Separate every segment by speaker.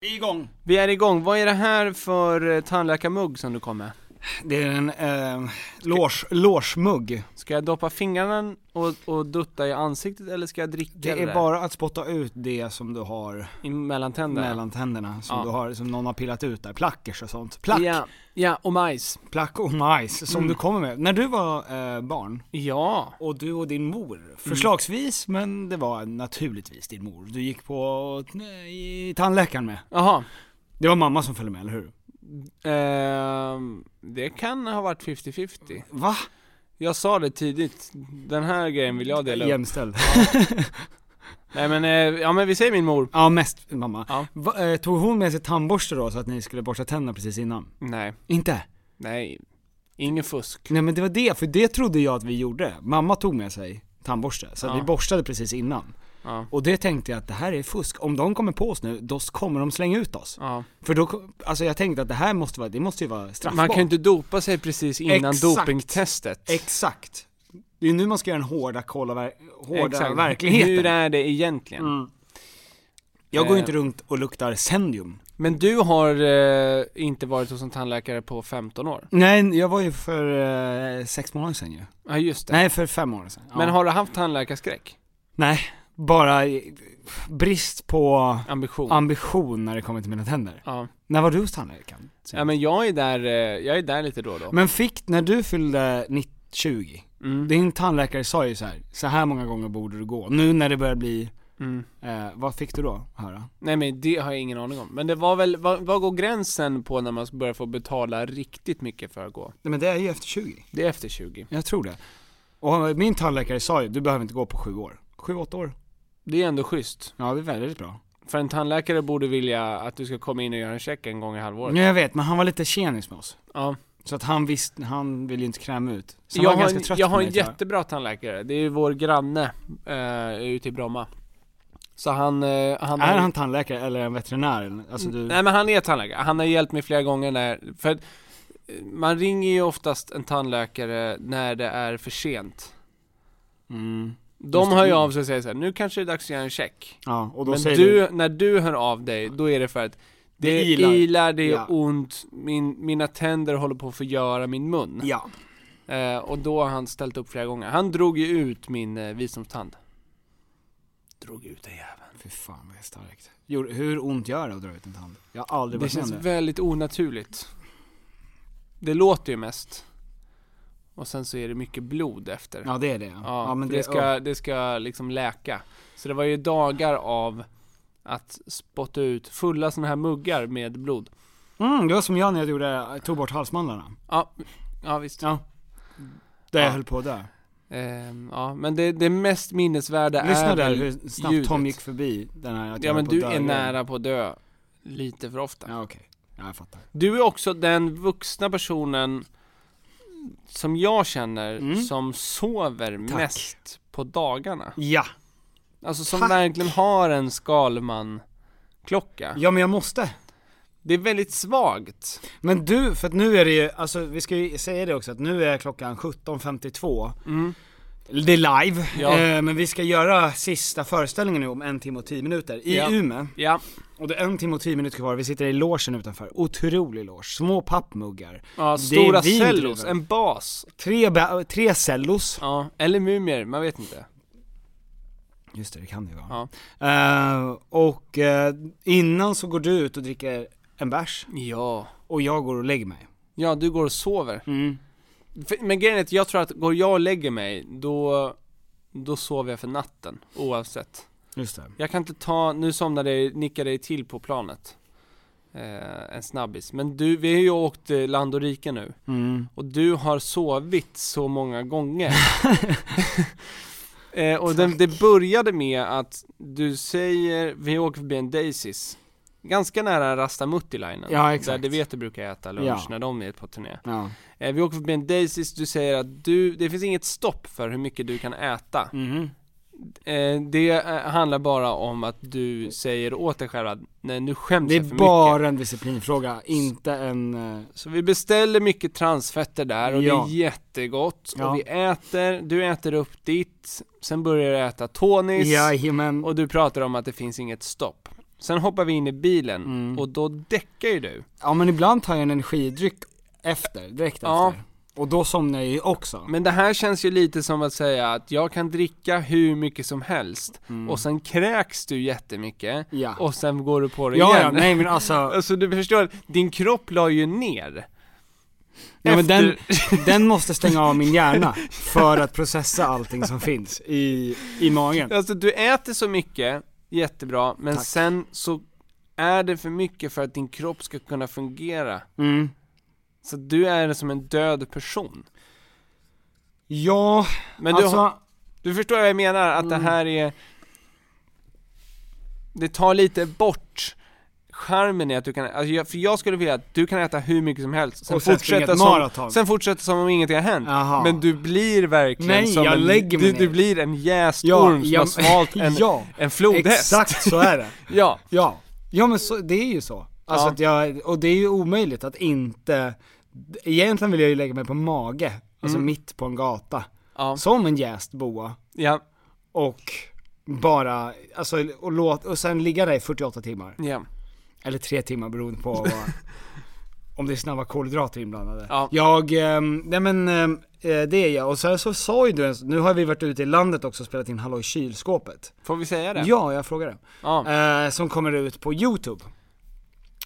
Speaker 1: Vi är igång!
Speaker 2: Vi är igång. Vad är det här för eh, tandläkarmugg som du kom med?
Speaker 1: Det är en eh, loge, logemugg.
Speaker 2: Ska jag doppa fingrarna och, och dutta i ansiktet eller ska jag dricka det,
Speaker 1: Det är
Speaker 2: där
Speaker 1: bara att spotta ut det som du har
Speaker 2: i mellan tänderna?
Speaker 1: mellan tänderna, som
Speaker 2: Ja.
Speaker 1: du har, som någon har pillat ut där, plackers och sånt. Plack,
Speaker 2: Ja, ja, och majs.
Speaker 1: plack och majs som
Speaker 2: Mm.
Speaker 1: du kommer med. När du var eh, barn,
Speaker 2: Ja.
Speaker 1: och du och din mor,
Speaker 2: Mm.
Speaker 1: förslagsvis, men det var naturligtvis din mor, du gick på eh, i tandläkaren med.
Speaker 2: Jaha.
Speaker 1: Det var mamma som följde med, eller hur?
Speaker 2: Ehm, det kan ha varit 50-50.
Speaker 1: Va?
Speaker 2: Jag sa det tidigt. Den här grejen vill jag dela upp.
Speaker 1: Jämställd.
Speaker 2: Nej men, eh, ja men vi säger min mor.
Speaker 1: Ja, mest mamma.
Speaker 2: Ja.
Speaker 1: Va, eh, tog hon med sig tandborste då, så att ni skulle borsta tänderna precis innan?
Speaker 2: Nej,
Speaker 1: Inte?
Speaker 2: nej. Ingen fusk.
Speaker 1: Nej men det var det, för det trodde jag att vi gjorde. Mamma tog med sig tandborste, så att
Speaker 2: Ja.
Speaker 1: vi borstade precis innan.
Speaker 2: Ja.
Speaker 1: Och det tänkte jag att det här är fusk. Om de kommer på oss nu, då kommer de slänga ut oss.
Speaker 2: Ja.
Speaker 1: För då, ko- alltså jag tänkte att det här måste vara, det måste ju vara straffbart.
Speaker 2: Man kan ju inte dopa sig precis innan
Speaker 1: Exakt.
Speaker 2: dopingtestet.
Speaker 1: Exakt. Det är ju nu man ska göra den hårda kolla, ver- hårda
Speaker 2: Exakt.
Speaker 1: verkligheten.
Speaker 2: Hur är det egentligen?
Speaker 1: Mm. Jag går ju
Speaker 2: Eh.
Speaker 1: inte runt och luktar sendium.
Speaker 2: Men du har eh, inte varit hos en tandläkare på 15 år?
Speaker 1: Nej, jag var ju för eh, sex månader sedan ju.
Speaker 2: Ja just det.
Speaker 1: Nej, för fem år sedan. Ja.
Speaker 2: Men har du haft tandläkarskräck?
Speaker 1: Nej, bara i- brist på
Speaker 2: Ambition?
Speaker 1: ambition när det kommer till mina tänder.
Speaker 2: ja.
Speaker 1: När var du hos tandläkaren?
Speaker 2: ja men jag är där, eh, jag är där lite då och då.
Speaker 1: Men fick, när du fyllde 90 20,
Speaker 2: Mm.
Speaker 1: din tandläkare sa ju så här, så här många gånger borde du gå. Nu när det börjar bli,
Speaker 2: Mm.
Speaker 1: eh, vad fick du då höra?
Speaker 2: Nej men det har jag ingen aning om. Men det var väl, vad, vad går gränsen på när man börjar få betala riktigt mycket för att gå?
Speaker 1: Nej men det är ju efter 20.
Speaker 2: Det är efter 20.
Speaker 1: Jag tror det. Och min tandläkare sa ju, du behöver inte gå på sju år. Sju, åtta år.
Speaker 2: Det är ändå schysst.
Speaker 1: Ja det är väldigt bra.
Speaker 2: För en tandläkare borde vilja att du ska komma in och göra en check en gång i halvåret.
Speaker 1: Ja jag vet, men han var lite tjenis med oss.
Speaker 2: Ja.
Speaker 1: Så att han visste, han ville ju inte kräma ut. Så han
Speaker 2: Jag
Speaker 1: var
Speaker 2: har,
Speaker 1: ganska
Speaker 2: en,
Speaker 1: trött
Speaker 2: jag
Speaker 1: på
Speaker 2: har
Speaker 1: mig,
Speaker 2: en
Speaker 1: tror jag.
Speaker 2: jättebra tandläkare, det är ju vår granne uh, ute i Bromma. Så han, eh, han har-
Speaker 1: Är han tandläkare eller en veterinär? Alltså du...
Speaker 2: Nej men han är tandläkare, han har hjälpt mig flera gånger när, för att, eh, man ringer ju oftast en tandläkare när det är för sent.
Speaker 1: Mm. Just
Speaker 2: De
Speaker 1: det.
Speaker 2: hör ju av sig och säger så här, nu kanske det är dags att göra en check.
Speaker 1: Ja, och då
Speaker 2: Men du,
Speaker 1: säger du...
Speaker 2: när du hör av dig, då är det för att det,
Speaker 1: Det
Speaker 2: ilar.
Speaker 1: ilar.
Speaker 2: det är
Speaker 1: Ja.
Speaker 2: ont, min, mina tänder håller på att förgöra min mun.
Speaker 1: Ja.
Speaker 2: Eh, och då har han ställt upp flera gånger. Han drog ju ut min eh, visdomstand. Drog ut den jäveln.
Speaker 1: Fy fan vad det är starkt. Gjorde- Hur ont gör det att dra ut en tand? Jag har aldrig
Speaker 2: Det,
Speaker 1: varit med
Speaker 2: känns
Speaker 1: om det.
Speaker 2: väldigt onaturligt. Det låter ju mest. Och sen så är det mycket blod efter.
Speaker 1: Ja det är det.
Speaker 2: Ja,
Speaker 1: Ja, men
Speaker 2: för det,
Speaker 1: det,
Speaker 2: ska, det ska liksom läka. Så det var ju dagar av att spotta ut fulla sådana här muggar med blod.
Speaker 1: Mm, det var som jag när jag gjorde, tog bort halsmandlarna.
Speaker 2: Ja, ja visst.
Speaker 1: Ja. Där
Speaker 2: Ja.
Speaker 1: jag höll på där.
Speaker 2: Ehm, ja, men det, det mest minnesvärda
Speaker 1: Lyssna
Speaker 2: är
Speaker 1: där
Speaker 2: väl
Speaker 1: hur snabbt
Speaker 2: ljudet.
Speaker 1: Tom gick förbi den här att jag
Speaker 2: Ja
Speaker 1: höll
Speaker 2: men
Speaker 1: på
Speaker 2: du
Speaker 1: att dö
Speaker 2: är
Speaker 1: igen.
Speaker 2: nära på att dö lite för ofta.
Speaker 1: Ja okej. Ja, jag fattar.
Speaker 2: Du är också den vuxna personen som jag känner
Speaker 1: Mm.
Speaker 2: som sover
Speaker 1: Tack.
Speaker 2: mest på dagarna.
Speaker 1: Ja.
Speaker 2: Alltså som
Speaker 1: Tack.
Speaker 2: verkligen har en Skalman-klocka.
Speaker 1: Ja men jag måste.
Speaker 2: Det är väldigt svagt.
Speaker 1: Men du, för att nu är det ju, alltså vi ska ju säga det också att nu är klockan 17.52
Speaker 2: Mm.
Speaker 1: Det är live,
Speaker 2: Ja.
Speaker 1: eh, men vi ska göra sista föreställningen nu om en timme och tio minuter i
Speaker 2: Ja.
Speaker 1: Umeå.
Speaker 2: Ja,
Speaker 1: Och det är en timme och tio minuter kvar, vi sitter i logen utanför. Otrolig loge, små pappmuggar.
Speaker 2: ja
Speaker 1: Det är
Speaker 2: stora
Speaker 1: vin
Speaker 2: cellos,
Speaker 1: driven.
Speaker 2: en bas.
Speaker 1: Tre, ba- tre cellos.
Speaker 2: Ja, eller mumier, man vet inte.
Speaker 1: Just det, det kan det ju vara.
Speaker 2: Ja.
Speaker 1: Eh, och eh, innan så går du ut och dricker en bärs
Speaker 2: Ja.
Speaker 1: och jag går och lägger mig.
Speaker 2: Ja, du går och sover. För- Men grejen är att jag tror att går jag och lägger mig, då, då sover jag för natten. Oavsett.
Speaker 1: Just det.
Speaker 2: Jag kan inte ta, nu somnade jag, nickade jag till på planet. Eh, en snabbis. Men du, vi har ju åkt eh, land och rike nu. Och du har sovit så många gånger. eh, och den, det började med att du säger, vi åker förbi en Daisys. Ganska nära Rastamutti-linen.
Speaker 1: Ja, exakt.
Speaker 2: Där det vet du brukar äta lunch
Speaker 1: Ja.
Speaker 2: när de är på turné.
Speaker 1: Ja.
Speaker 2: Eh, vi åker förbi en Daisys, du säger att du, det finns inget stopp för hur mycket du kan äta.
Speaker 1: Mhm.
Speaker 2: Eh, det eh, handlar bara om att du säger åt dig själv att nej nu skäms
Speaker 1: Det
Speaker 2: jag för
Speaker 1: är bara
Speaker 2: mycket.
Speaker 1: en disciplinfråga, inte en... eh,
Speaker 2: Så vi beställer mycket transfetter där och
Speaker 1: Ja.
Speaker 2: det är jättegott.
Speaker 1: Ja.
Speaker 2: Och vi äter, du äter upp ditt, sen börjar du äta tonis
Speaker 1: Jajamän.
Speaker 2: och du pratar om att det finns inget stopp. Sen hoppar vi in i bilen
Speaker 1: Mm.
Speaker 2: och då däckar ju du.
Speaker 1: Ja men ibland tar jag en energidryck efter, direkt
Speaker 2: Ja.
Speaker 1: efter. Och då somnar jag ju också.
Speaker 2: Men det här känns ju lite som att säga att jag kan dricka hur mycket som helst
Speaker 1: Mm.
Speaker 2: och sen kräks du jättemycket
Speaker 1: Ja.
Speaker 2: och sen går du på det
Speaker 1: ja, ja,
Speaker 2: igen.
Speaker 1: nej men alltså,
Speaker 2: Alltså du förstår, din kropp la ju ner.
Speaker 1: nej, men den,
Speaker 2: Efter-
Speaker 1: den måste stänga av min hjärna för att processa allting som finns i, i magen.
Speaker 2: Alltså du äter så mycket, jättebra, men
Speaker 1: Tack.
Speaker 2: sen så är det för mycket för att din kropp ska kunna fungera.
Speaker 1: Mm.
Speaker 2: Så du är som en död person.
Speaker 1: Ja,
Speaker 2: Men
Speaker 1: alltså, Mm.
Speaker 2: du, har- du förstår vad jag menar, att det här är... Det tar lite bort charmen i att du kan, alltså jag, för jag skulle vilja att du kan äta hur mycket som helst, sen,
Speaker 1: Och sen springa
Speaker 2: fortsätta,
Speaker 1: ett
Speaker 2: som,
Speaker 1: maraton.
Speaker 2: sen fortsätta som om ingenting har hänt.
Speaker 1: Jaha.
Speaker 2: Men du blir verkligen
Speaker 1: Nej,
Speaker 2: som
Speaker 1: jag
Speaker 2: en,
Speaker 1: lägger mig
Speaker 2: du, du
Speaker 1: ner.
Speaker 2: blir en jäst
Speaker 1: Ja,
Speaker 2: orm som
Speaker 1: jag-
Speaker 2: har svalt en,
Speaker 1: ja,
Speaker 2: en flodhäst.
Speaker 1: exakt så är det.
Speaker 2: Ja.
Speaker 1: Ja, ja men så, det är ju så. Alltså
Speaker 2: Ja.
Speaker 1: att jag, och det är ju omöjligt att inte, egentligen vill jag ju lägga mig på mage, alltså mitt på en gata.
Speaker 2: Mm. Ja.
Speaker 1: Som en jäst boa.
Speaker 2: Ja,
Speaker 1: Och bara, alltså och, låt, och sen ligga där i 48 timmar.
Speaker 2: ja,
Speaker 1: Eller 3 timmar beroende på vad, om det är snabba kolhydrater inblandade.
Speaker 2: Ja.
Speaker 1: Jag, ehm, nej men ehm, eh, det är jag. Och sen så sa ju du, en- nu har vi varit ute i landet också och spelat in Hallå i kylskåpet.
Speaker 2: får vi säga det?
Speaker 1: Ja, jag frågade.
Speaker 2: Ja.
Speaker 1: Eh, som kommer ut på YouTube.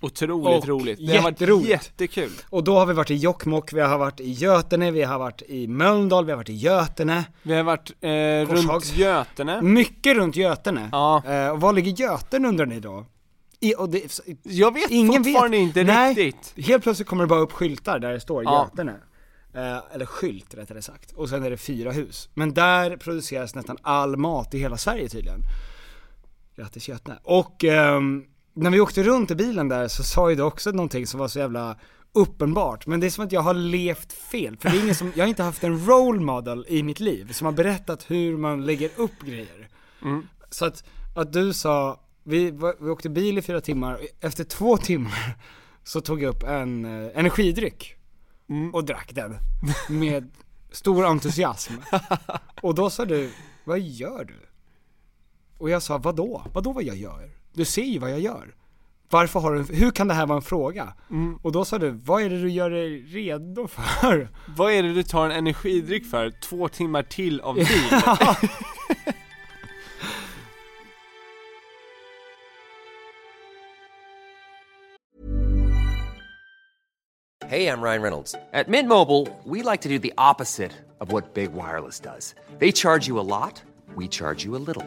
Speaker 2: Otroligt
Speaker 1: och
Speaker 2: roligt. Det har varit
Speaker 1: jätteroligt.
Speaker 2: jättekul.
Speaker 1: Och då har vi varit i Jokkmokk, vi har varit i Götene, vi har varit i Mölndal, vi har varit i Götene.
Speaker 2: Vi har varit eh, runt
Speaker 1: Korshags. Mm.
Speaker 2: Götene.
Speaker 1: Mycket runt Götene.
Speaker 2: Ja.
Speaker 1: Eh, och var ligger Götene undrar ni då? I, och det,
Speaker 2: Jag vet
Speaker 1: Ingen
Speaker 2: fortfarande
Speaker 1: vet.
Speaker 2: inte
Speaker 1: Nej.
Speaker 2: riktigt.
Speaker 1: helt plötsligt kommer det bara upp skyltar där det står
Speaker 2: Ja.
Speaker 1: Götene. Eh, eller skylt rättare sagt. Och sen är det fyra hus. Men där produceras nästan all mat i hela Sverige tydligen. Grattis Götene. Och ehm, när vi åkte runt i bilen där så sa ju du också någonting som var så jävla uppenbart. Men det är som att jag har levt fel. För det är ingen som, jag har inte haft en role model i mitt liv som har berättat hur man lägger upp grejer.
Speaker 2: Mm.
Speaker 1: Så att, att du sa, vi, var- vi åkte bil i fyra timmar, efter två timmar så tog jag upp en eh, energidryck
Speaker 2: Mm.
Speaker 1: och drack den med stor entusiasm. Och då sa du, vad gör du? Och jag sa, vadå? Vadå vad jag gör? Du ser ju vad jag gör. Varför har du, en- hur kan det här vara en fråga?
Speaker 2: Mm.
Speaker 1: Och då sa du, vad är det du gör dig redo för?
Speaker 2: Vad är det du tar en energidryck för? Två timmar till av bil?
Speaker 3: Hey, I'm Ryan Reynolds. At Mint Mobile, we like to do the opposite of what Big Wireless does. They charge you a lot, we charge you a little.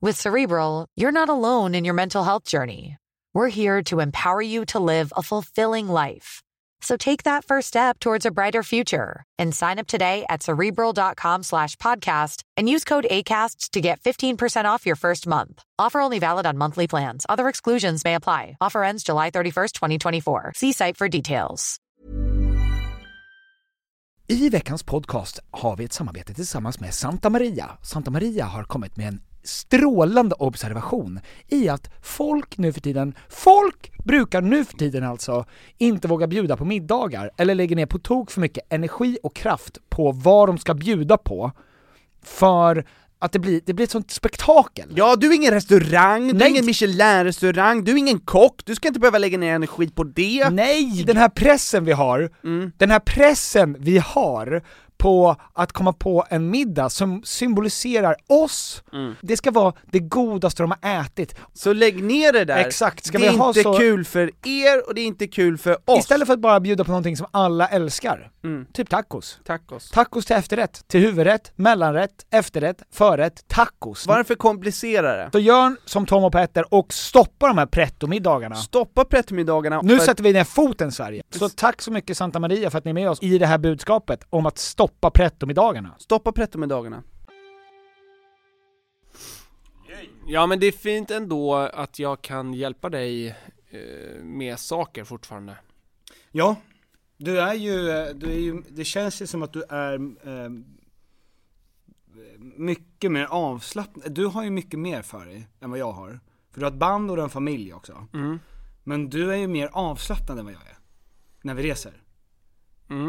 Speaker 4: With Cerebral, you're not alone in your mental health journey. We're here to empower you to live a fulfilling life. So take that first step towards a brighter future and sign up today at cerebral.com slash podcast and use code ACAST to get 15% off your first month. Offer only valid on monthly plans. Other exclusions may apply. Offer ends July 31st, 2024. See site for details.
Speaker 5: I veckans podcast har vi ett samarbete tillsammans med Santa Maria. Santa Maria har kommit med en strålande observation i att folk nu för tiden, folk brukar nu för tiden alltså inte våga bjuda på middagar eller lägger ner på tok för mycket energi och kraft på vad de ska bjuda på för att det blir, det blir ett sånt spektakel.
Speaker 6: Ja, du är ingen restaurang, du är
Speaker 5: Nej.
Speaker 6: ingen Michelin-restaurang, du är ingen kock, du ska inte behöva lägga ner energi på det. Mm.
Speaker 5: Nej! Den här pressen vi har, den här pressen vi har på att komma på en middag som symboliserar oss. Det ska vara det godaste de har ätit.
Speaker 6: Mm. Så lägg ner det där.
Speaker 5: Exakt, ska
Speaker 6: det är
Speaker 5: vi ha
Speaker 6: inte
Speaker 5: så-
Speaker 6: kul för er och det är inte kul för oss.
Speaker 5: Istället för att bara bjuda på någonting som alla älskar.
Speaker 6: Mm.
Speaker 5: Typ tacos.
Speaker 6: Tacos.
Speaker 5: Tacos till efterrätt, till huvudrätt, mellanrätt, efterrätt, förrätt, tacos.
Speaker 6: Varför komplicera det?
Speaker 5: Så gör som Tom och Petter och stoppa de här pretto-middagarna.
Speaker 6: Stoppa prettomiddagarna.
Speaker 5: Nu
Speaker 6: för-
Speaker 5: sätter vi ner foten Sverige. Så tack så mycket Santa Maria för att ni är med oss i det här budskapet om att stoppa pretto-middagarna.
Speaker 6: Stoppa prettomiddagarna.
Speaker 2: Ja men det är fint ändå att jag kan hjälpa dig eh, med saker fortfarande.
Speaker 1: Ja, du är ju, eh, du är ju, det känns ju som att du är eh, mycket mer avslappnad, du har ju mycket mer för dig än vad jag har. För du har ett band och du har en familj också.
Speaker 2: Mm.
Speaker 1: Men du är ju mer avslappnad än vad jag är. När vi reser.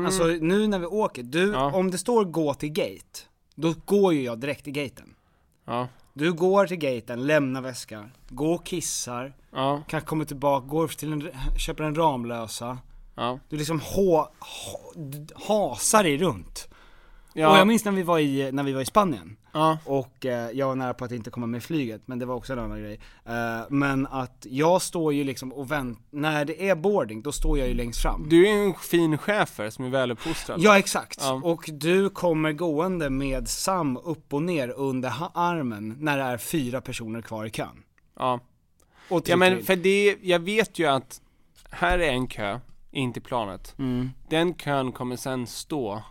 Speaker 1: Alltså nu när vi åker, du,
Speaker 2: Mm. Ja.
Speaker 1: om det står gå till gate, då går ju jag direkt till gaten.
Speaker 2: Ja,
Speaker 1: Du går till gaten, lämnar väskan, går och kissar,
Speaker 2: ja,
Speaker 1: kanske kommer tillbaka, går till en, köper en Ramlösa.
Speaker 2: ja.
Speaker 1: Du liksom ha, ha, hasar dig runt.
Speaker 2: Ja,
Speaker 1: Och jag minns när vi var i, när vi var i Spanien.
Speaker 2: ja,
Speaker 1: Och eh, jag var nära på att inte komma med flyget, men det var också en annan grej. Eh, men att jag står ju liksom och väntar, när det är boarding då står jag ju längst fram.
Speaker 2: du är en fin chefer som är väluppfostrad.
Speaker 1: Ja exakt,
Speaker 2: Ja.
Speaker 1: och du kommer gående med Sam upp och ner under ha- armen när det är fyra personer kvar i kön.
Speaker 2: ja.
Speaker 1: Och typ-
Speaker 2: Ja
Speaker 1: trycker
Speaker 2: men
Speaker 1: in.
Speaker 2: för det, jag vet ju att här är en kö in till planet.
Speaker 1: Mm.
Speaker 2: Den kön kommer sen stå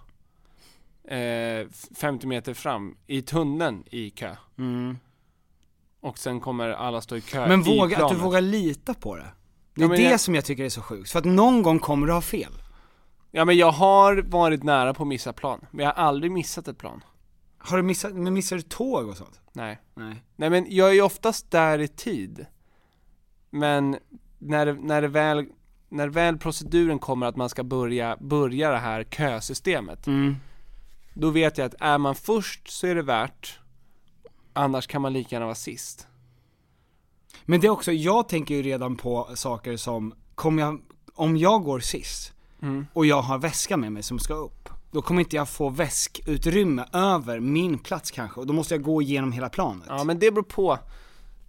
Speaker 2: eh, 50 meter fram i tunneln i kö. Och sen kommer alla stå i kö
Speaker 1: Mm. Men
Speaker 2: i
Speaker 1: våga, att
Speaker 2: planet.
Speaker 1: du vågar lita på det. Det är
Speaker 2: Ja, men
Speaker 1: det
Speaker 2: jag-
Speaker 1: som jag tycker är så sjukt, för att någon gång kommer du ha fel.
Speaker 2: Ja men jag har varit nära på att missa plan, men jag har aldrig missat ett plan.
Speaker 1: Har du missat, men missar du tåg och sånt?
Speaker 2: Nej.
Speaker 1: Nej.
Speaker 2: Nej men jag är ju oftast där i tid. Men när, det- när det väl, när väl proceduren kommer att man ska börja, börja det här kösystemet.
Speaker 1: Mm.
Speaker 2: Då vet jag att är man först så är det värt, annars kan man lika gärna vara sist.
Speaker 1: Men det är också, jag tänker ju redan på saker som, kom jag, om jag går sist
Speaker 2: Mm.
Speaker 1: och jag har väska med mig som ska upp, då kommer inte jag få väskutrymme över min plats kanske och då måste jag gå igenom hela planet.
Speaker 2: Ja men det beror på.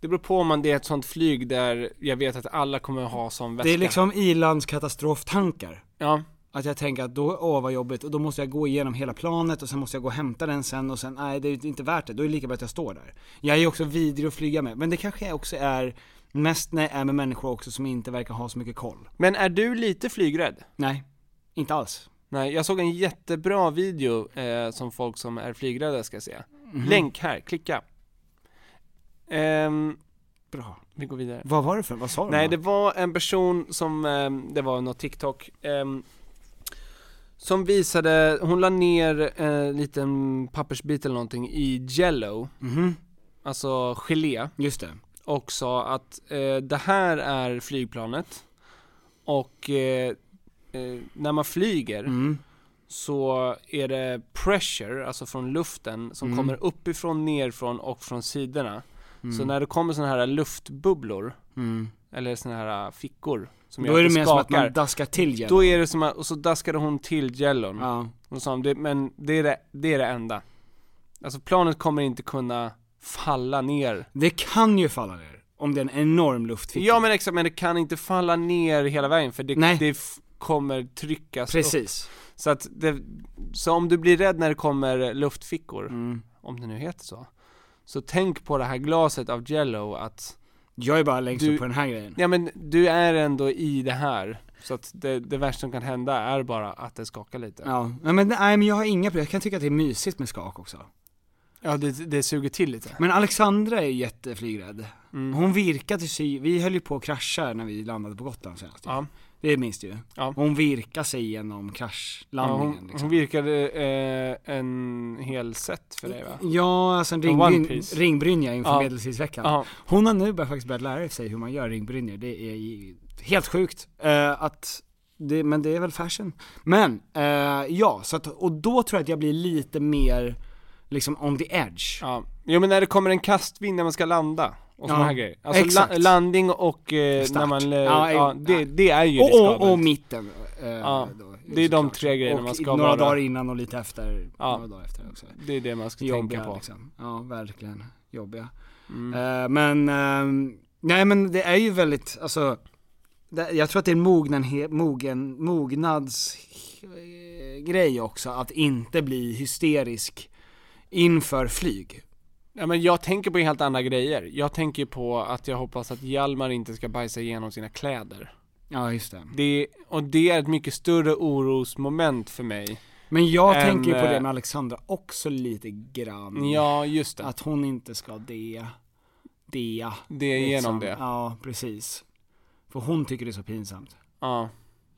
Speaker 2: Det beror på om man, det är ett sånt flyg där jag vet att alla kommer ha sån väska.
Speaker 1: det är liksom ilandskatastroftankar.
Speaker 2: Ja.
Speaker 1: Att jag tänker att då, åh vad jobbigt, och då måste jag gå igenom hela planet och sen måste jag gå och hämta den sen och sen, nej det är inte värt det, då är det lika bra att jag står där. Jag är också vidrig att flyga med, men det kanske också är mest när jag är med människor också som inte verkar ha så mycket koll.
Speaker 2: Men är du lite flygrädd?
Speaker 1: Nej, inte alls.
Speaker 2: Nej, jag såg en jättebra video eh, som folk som är flygrädda ska se.
Speaker 1: Mhm.
Speaker 2: Länk här, klicka. Ehm,
Speaker 1: Bra.
Speaker 2: vi går vidare.
Speaker 1: Vad var det för, vad sa du?
Speaker 2: Nej, det var en person som, ehm, det var något TikTok, ehm, som visade, hon la ner eh, en liten pappersbit eller någonting i jello,
Speaker 1: Mhm,
Speaker 2: alltså gelé,
Speaker 1: just det.
Speaker 2: och sa att eh, det här är flygplanet och eh, eh, när man flyger
Speaker 1: Mm.
Speaker 2: så är det pressure, alltså från luften, som
Speaker 1: Mm.
Speaker 2: kommer uppifrån, nerifrån och från sidorna. Så när det kommer sådana här luftbubblor,
Speaker 1: Mm.
Speaker 2: eller sådana här äh, fickor, som
Speaker 1: Då
Speaker 2: gör
Speaker 1: är
Speaker 2: att
Speaker 1: det mer som att
Speaker 2: skakar,
Speaker 1: man daskar till igen.
Speaker 2: då är det som att, och så daskade hon till gellon.
Speaker 1: Ja.
Speaker 2: Hon sa, "Det- men det är det, det är det enda. Alltså planet kommer inte kunna falla ner.
Speaker 1: Det kan ju falla ner, om det är en enorm luftficka.
Speaker 2: Ja men exakt, men det kan inte falla ner hela vägen för det,
Speaker 1: Nej.
Speaker 2: det f- kommer tryckas upp.
Speaker 1: Precis.
Speaker 2: Så att det, så om du blir rädd när det kommer luftfickor,
Speaker 1: Mm.
Speaker 2: om det nu heter så. Så tänk på det här glaset av jello att,
Speaker 1: Jag är bara längst
Speaker 2: Du-
Speaker 1: upp på den här grejen.
Speaker 2: ja men du är ändå i det här. Så att det, det värsta som kan hända är bara att det skakar lite. Ja,
Speaker 1: Ja, Nej, men, nej, men jag har inga problem, jag kan tycka att det är mysigt med skak också.
Speaker 2: det, det suger till lite.
Speaker 1: Men Alexandra är ju jätteflygrädd.
Speaker 2: Mm.
Speaker 1: Hon virkade sig, vi höll ju på att krascha när vi landade på Gotland senast.
Speaker 2: Ja.
Speaker 1: Det minns du ju.
Speaker 2: Ja.
Speaker 1: Hon virkade sig genom
Speaker 2: Ja,
Speaker 1: kraschlandningen
Speaker 2: hon,
Speaker 1: liksom.
Speaker 2: hon virkade eh, en hel set för dig va?
Speaker 1: Ja, alltså en
Speaker 2: En One
Speaker 1: ringbryn,
Speaker 2: Piece.
Speaker 1: ringbrynja inför
Speaker 2: Ja.
Speaker 1: medeltidsveckan.
Speaker 2: Ja.
Speaker 1: Hon har nu börjat faktiskt börjat lära sig hur man gör ringbrynjor, det är ju helt sjukt. Eh, att det, men det är väl fashion. Men, eh, ja, så att, och då tror jag att jag blir lite mer liksom on the edge.
Speaker 2: Ja. Jo men när det kommer en kastvind när man ska landa. och sådana
Speaker 1: Ja,
Speaker 2: här grejer. Alltså la,
Speaker 1: exakt.
Speaker 2: landning och eh,
Speaker 1: Start.
Speaker 2: när man... eh,
Speaker 1: Ja,
Speaker 2: ja,
Speaker 1: eh,
Speaker 2: det, det är ju
Speaker 1: Och,
Speaker 2: riskabelt.
Speaker 1: och, och mitten. Eh,
Speaker 2: Ja,
Speaker 1: då,
Speaker 2: det är de
Speaker 1: såklart.
Speaker 2: tre grejerna
Speaker 1: och
Speaker 2: man ska
Speaker 1: några
Speaker 2: vara-
Speaker 1: dagar innan och lite efter.
Speaker 2: Ja.
Speaker 1: Några dagar efter också.
Speaker 2: Det är det man ska tänka
Speaker 1: Jobbiga
Speaker 2: på.
Speaker 1: liksom. Ja, verkligen. Jobbiga.
Speaker 2: Mm.
Speaker 1: Eh, men, ehm, nej men det är ju väldigt, alltså, det, jag tror att det är en mognenhe- mogen, mognads eh, grej också, att inte bli hysterisk inför flyg.
Speaker 2: Ja, men jag tänker på helt andra grejer. Jag tänker på att jag hoppas att Hjalmar inte ska bajsa igenom sina kläder.
Speaker 1: Ja, just det.
Speaker 2: Det, och det är ett mycket större orosmoment för mig.
Speaker 1: Men jag
Speaker 2: En,
Speaker 1: tänker ju på
Speaker 2: eh,
Speaker 1: det med Alexandra också lite grann.
Speaker 2: Ja, just det.
Speaker 1: Mm. typ Att hon inte ska det, det.
Speaker 2: Det är genom det.
Speaker 1: liksom- Ja, precis. För hon tycker det är så pinsamt.
Speaker 2: Ja.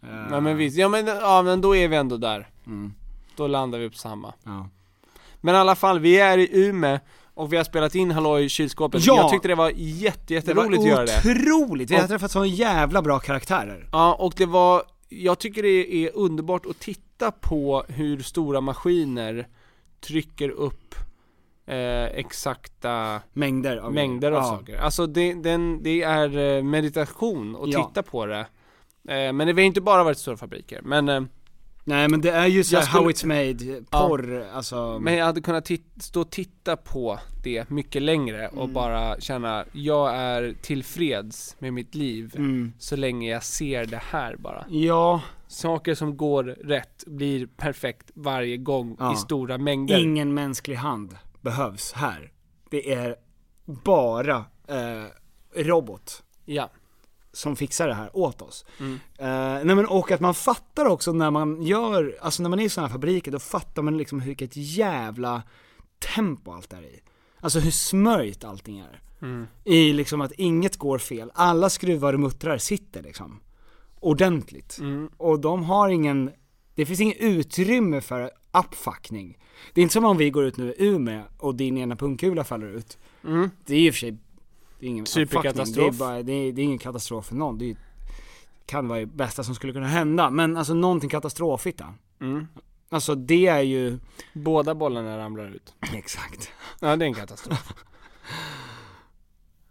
Speaker 1: Eh,
Speaker 2: ja, men visst. Ja men, ja, men då är vi ändå där.
Speaker 1: Mm.
Speaker 2: Då landar vi på samma.
Speaker 1: Ja.
Speaker 2: Men i alla fall, vi är i Ume och vi har spelat in Hallå i kylskåpet.
Speaker 1: Ja!
Speaker 2: Jag tyckte det var jätte, jätteroligt att göra det.
Speaker 1: Otroligt! Vi har
Speaker 2: Och-
Speaker 1: träffat så jävla bra karaktärer.
Speaker 2: Ja, och det var, jag tycker det är underbart att titta på hur stora maskiner trycker upp eh, exakta
Speaker 1: Mängder av
Speaker 2: mängder av
Speaker 1: ja.
Speaker 2: saker. Alltså det, den, det är eh, meditation att
Speaker 1: Ja.
Speaker 2: titta på det. Eh, men det har inte bara varit stora fabriker, men, eh,
Speaker 1: Nej men det är ju så här
Speaker 2: Jag skulle-
Speaker 1: how it's made, eh, porr, alltså.
Speaker 2: men jag hade kunnat tit- stå och titta på det mycket längre
Speaker 1: Mm.
Speaker 2: och bara känna, jag är tillfreds med mitt liv
Speaker 1: Mm.
Speaker 2: så länge jag ser det här bara.
Speaker 1: Ja,
Speaker 2: Saker som går rätt blir perfekt varje gång
Speaker 1: Ja.
Speaker 2: i stora mängder.
Speaker 1: ingen mänsklig hand behövs här. Det är bara eh, robot
Speaker 2: ja.
Speaker 1: som fixar det här åt oss. Eh, nej men och att man fattar också när man gör, alltså när man är i sådana här fabriker, då fattar man liksom vilket jävla tempo allt är i. Alltså hur smörjt allting är. I liksom att inget går fel, alla skruvar och muttrar sitter liksom. Ordentligt. Och de har ingen, det finns inget utrymme för uppfackning. Det är inte som om vi går ut nu i Umeå och din ena pungkula faller ut.
Speaker 2: Mm.
Speaker 1: Det är ju i och för sig, det är ingen
Speaker 2: Superkatastrof.
Speaker 1: uppfackning. Det är, bara, det, är, det är ingen katastrof för någon. Det är, ju- kan vara det bästa som skulle kunna hända. Men alltså någonting katastrofigt då.
Speaker 2: Mm.
Speaker 1: Alltså det är ju,
Speaker 2: Båda bollarna ramlar ut.
Speaker 1: exakt.
Speaker 2: Ja, det är en katastrof.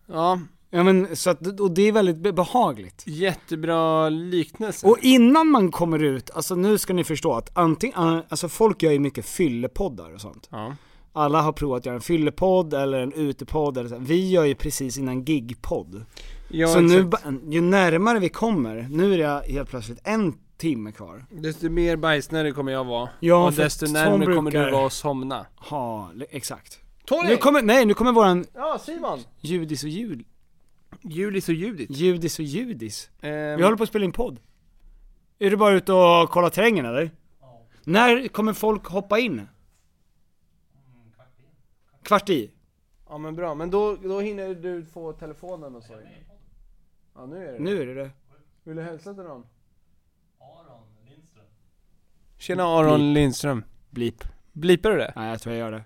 Speaker 2: ja,
Speaker 1: Ja men så att, och det är väldigt be- behagligt.
Speaker 2: jättebra liknelse.
Speaker 1: Och innan man kommer ut, alltså nu ska ni förstå att antingen, alltså folk gör ju mycket fyllepoddar och sånt.
Speaker 2: ja.
Speaker 1: Alla har provat att göra en fyllepodd eller en utepodd eller så. Vi gör ju precis innan gigpodd.
Speaker 2: Ja,
Speaker 1: så nu,
Speaker 2: exakt.
Speaker 1: ba- ju närmare vi kommer, nu är det helt plötsligt en timme kvar.
Speaker 2: Desto mer bajsnödig kommer jag vara.
Speaker 1: Ja,
Speaker 2: och
Speaker 1: för
Speaker 2: desto
Speaker 1: att
Speaker 2: närmare
Speaker 1: Tom
Speaker 2: kommer du
Speaker 1: brukar-
Speaker 2: vara att somna.
Speaker 1: Ja, exakt.
Speaker 2: Tony!
Speaker 1: Nu kommer, nej nu kommer våran
Speaker 2: Ja, Simon!
Speaker 1: Judis och Jul,
Speaker 2: Julis och Judit.
Speaker 1: Judis och Judis.
Speaker 2: Ehm,
Speaker 1: Vi håller på att spela in podd. Är du bara ute och kollar terrängen eller? När kommer folk hoppa
Speaker 2: Mm,
Speaker 1: in? Kvart i?
Speaker 2: Ja men bra, men då, då hinner du få telefonen och så. Ja nu är det
Speaker 1: Nu är det det.
Speaker 2: Vill du hälsa till någon? Aron Lindström. Tjena Aron Lindström.
Speaker 1: Blip.
Speaker 2: Blipar du det?
Speaker 1: Nej jag tror jag gör det.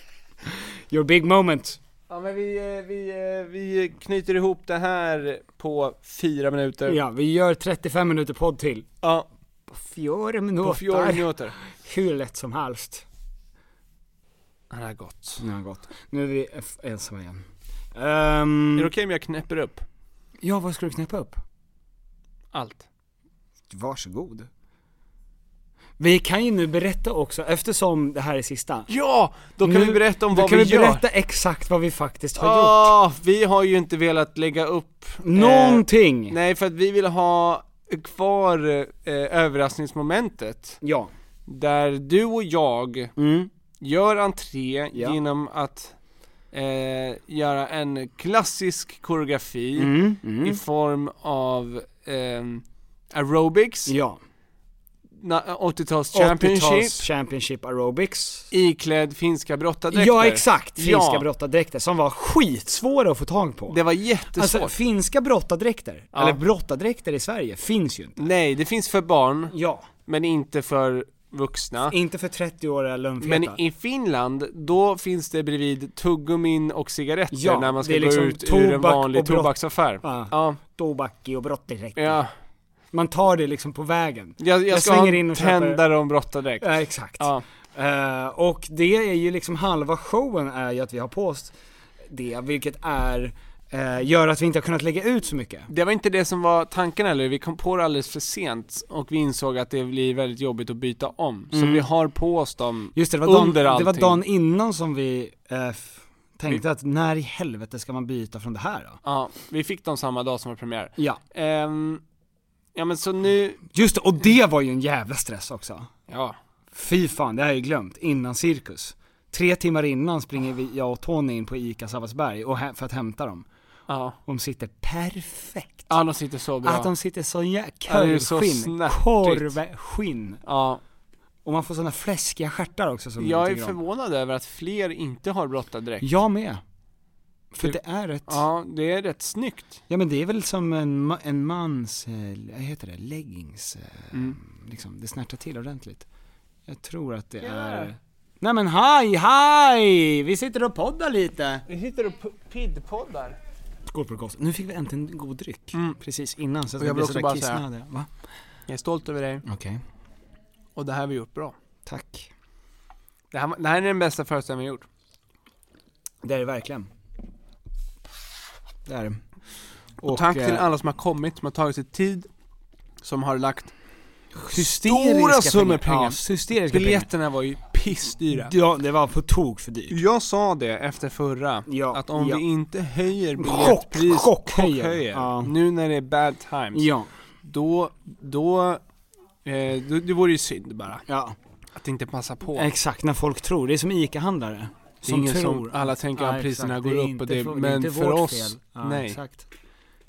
Speaker 1: Your big moment.
Speaker 2: Ja men vi, eh, vi, eh, vi knyter ihop det här på fyra minuter.
Speaker 1: Ja, vi gör 35 minuter podd till.
Speaker 2: ja
Speaker 1: På fjorda
Speaker 2: på fyra
Speaker 1: minuter.
Speaker 2: minuter.
Speaker 1: Hur lätt som helst.
Speaker 2: Han har gått.
Speaker 1: Nu har han gått. Nu är vi f- ensamma igen. Ehm,
Speaker 2: Mm. Är det okej om jag knäpper upp
Speaker 1: Ja, vad ska du knäppa upp?
Speaker 2: allt?
Speaker 1: Varsågod. Vi kan ju nu berätta också, eftersom det här är sista.
Speaker 2: Ja! Då kan
Speaker 1: Nu-
Speaker 2: vi berätta om
Speaker 1: då
Speaker 2: vad
Speaker 1: kan
Speaker 2: vi,
Speaker 1: vi
Speaker 2: gör.
Speaker 1: berätta exakt vad vi faktiskt har gjort.
Speaker 2: Ah, vi har ju inte velat lägga upp... eh,
Speaker 1: Någonting!
Speaker 2: nej, för att vi vill ha kvar eh, överraskningsmomentet.
Speaker 1: Ja.
Speaker 2: Där du och jag
Speaker 1: Mm.
Speaker 2: gör entré
Speaker 1: Ja.
Speaker 2: genom att eh, göra en klassisk koreografi
Speaker 1: Mm. Mm.
Speaker 2: i form av ehm, aerobics,
Speaker 1: Ja.
Speaker 2: na- 80-tals
Speaker 1: 80-tals
Speaker 2: championship,
Speaker 1: Championship aerobics.
Speaker 2: iklädd finska brottardräkter.
Speaker 1: Ja exakt, finska
Speaker 2: Ja.
Speaker 1: brottardräkter som var skitsvåra att få tag på.
Speaker 2: Det var jättesvårt.
Speaker 1: alltså finska brottardräkter,
Speaker 2: Ja.
Speaker 1: eller brottardräkter i Sverige, finns ju inte.
Speaker 2: Nej, det finns för barn,
Speaker 1: Ja,
Speaker 2: men inte för vuxna.
Speaker 1: inte för 30-åriga lönnfeta.
Speaker 2: Men i Finland, då finns det bredvid tuggummin och cigaretter
Speaker 1: Ja,
Speaker 2: när man ska
Speaker 1: det är
Speaker 2: gå
Speaker 1: liksom
Speaker 2: ut ur en
Speaker 1: tobak
Speaker 2: vanlig
Speaker 1: och brott.
Speaker 2: tobaksaffär.
Speaker 1: Ja.
Speaker 2: Ja.
Speaker 1: Tobaki och brottardräkter.
Speaker 2: ja.
Speaker 1: Man tar det liksom på vägen.
Speaker 2: Jag, jag,
Speaker 1: Jag
Speaker 2: ska ha
Speaker 1: svänger in
Speaker 2: en
Speaker 1: och köper-
Speaker 2: tändare och en brottardräkt.
Speaker 1: Ja exakt.
Speaker 2: Ja.
Speaker 1: Eh, och det är ju liksom halva showen är ju att vi har på oss det, vilket är, eh, gör att vi inte har kunnat lägga ut så mycket.
Speaker 2: Det var inte det som var tanken heller, vi kom på det alldeles för sent och vi insåg att det blir väldigt jobbigt att byta om. Så vi har på oss dem
Speaker 1: Mm. Just det, det var, dagen,
Speaker 2: under
Speaker 1: det var
Speaker 2: allting.
Speaker 1: dagen innan som vi eh, f- tänkte att när i helvete ska man byta från det här då?
Speaker 2: Ja, vi fick dem samma dag som var premiär.
Speaker 1: Ja,
Speaker 2: Ehm, ja men så nu,
Speaker 1: just det, och det var ju en jävla stress också.
Speaker 2: ja,
Speaker 1: Fy fan, det har jag ju glömt, innan cirkus. Tre timmar innan springer vi, jag och Tony in på ICA Sabbatsberg och hä- för att hämta dem.
Speaker 2: ja.
Speaker 1: De sitter perfekt.
Speaker 2: Ja, de sitter så bra.
Speaker 1: Att de sitter så jäkla
Speaker 2: Ja, det är så
Speaker 1: korvskinn,
Speaker 2: snärtigt.
Speaker 1: korvskinn.
Speaker 2: Ja,
Speaker 1: Och man får sådana fläskiga stjärtar också som
Speaker 2: jag är
Speaker 1: tycker om.
Speaker 2: förvånad över att fler inte har brottardräkt.
Speaker 1: Jag med. För
Speaker 2: Det-
Speaker 1: det är ett, ja.
Speaker 2: Ja, det är rätt snyggt.
Speaker 1: men det är väl som en, ma- en mans, eh, vad heter det, leggings, eh,
Speaker 2: Mm.
Speaker 1: liksom, det snärtar till ordentligt. Jag tror att det är... Nej men hej, hej! Vi sitter och poddar lite.
Speaker 2: Nu sitter du piddpoddar. Mm.
Speaker 1: Skålprokost. Nu fick vi äntligen en god dryck, precis innan så att
Speaker 2: Och
Speaker 1: vi
Speaker 2: jag vill också
Speaker 1: blir
Speaker 2: bara
Speaker 1: sådär
Speaker 2: säga-
Speaker 1: kissnödiga. Va?
Speaker 2: Jag är stolt över dig
Speaker 1: Okej.
Speaker 2: och det här har vi gjort bra.
Speaker 1: Tack.
Speaker 2: Det här, det här är den bästa föreställningen vi har gjort.
Speaker 1: Det är det verkligen. Det är det.
Speaker 2: Och, tack
Speaker 1: eh,
Speaker 2: till alla som har kommit, som har tagit sig tid, som har lagt
Speaker 1: hysteriska
Speaker 2: stora summor pengar.
Speaker 1: Ja, hysteriska pengar.
Speaker 2: Biljetterna var ju pissdyra.
Speaker 1: Ja, det var på tok för dyrt.
Speaker 2: Jag sa det efter förra,
Speaker 1: Ja,
Speaker 2: att om
Speaker 1: ja.
Speaker 2: vi inte höjer biljettpris,
Speaker 1: Chock, chockhöjer. Ja.
Speaker 2: nu när det är bad times,
Speaker 1: Ja,
Speaker 2: då, då, eh, då, det vore ju synd bara
Speaker 1: ja.
Speaker 2: att inte passa på.
Speaker 1: Exakt, när folk tror. Det är som ICA-handlare.
Speaker 2: Det är ingen som-
Speaker 1: att-
Speaker 2: alla tänker att priserna
Speaker 1: exakt.
Speaker 2: går
Speaker 1: Det är
Speaker 2: upp och
Speaker 1: inte
Speaker 2: det-
Speaker 1: för-
Speaker 2: men
Speaker 1: inte
Speaker 2: för
Speaker 1: vårt
Speaker 2: oss,
Speaker 1: fel. Ja,
Speaker 2: nej.
Speaker 1: Exakt.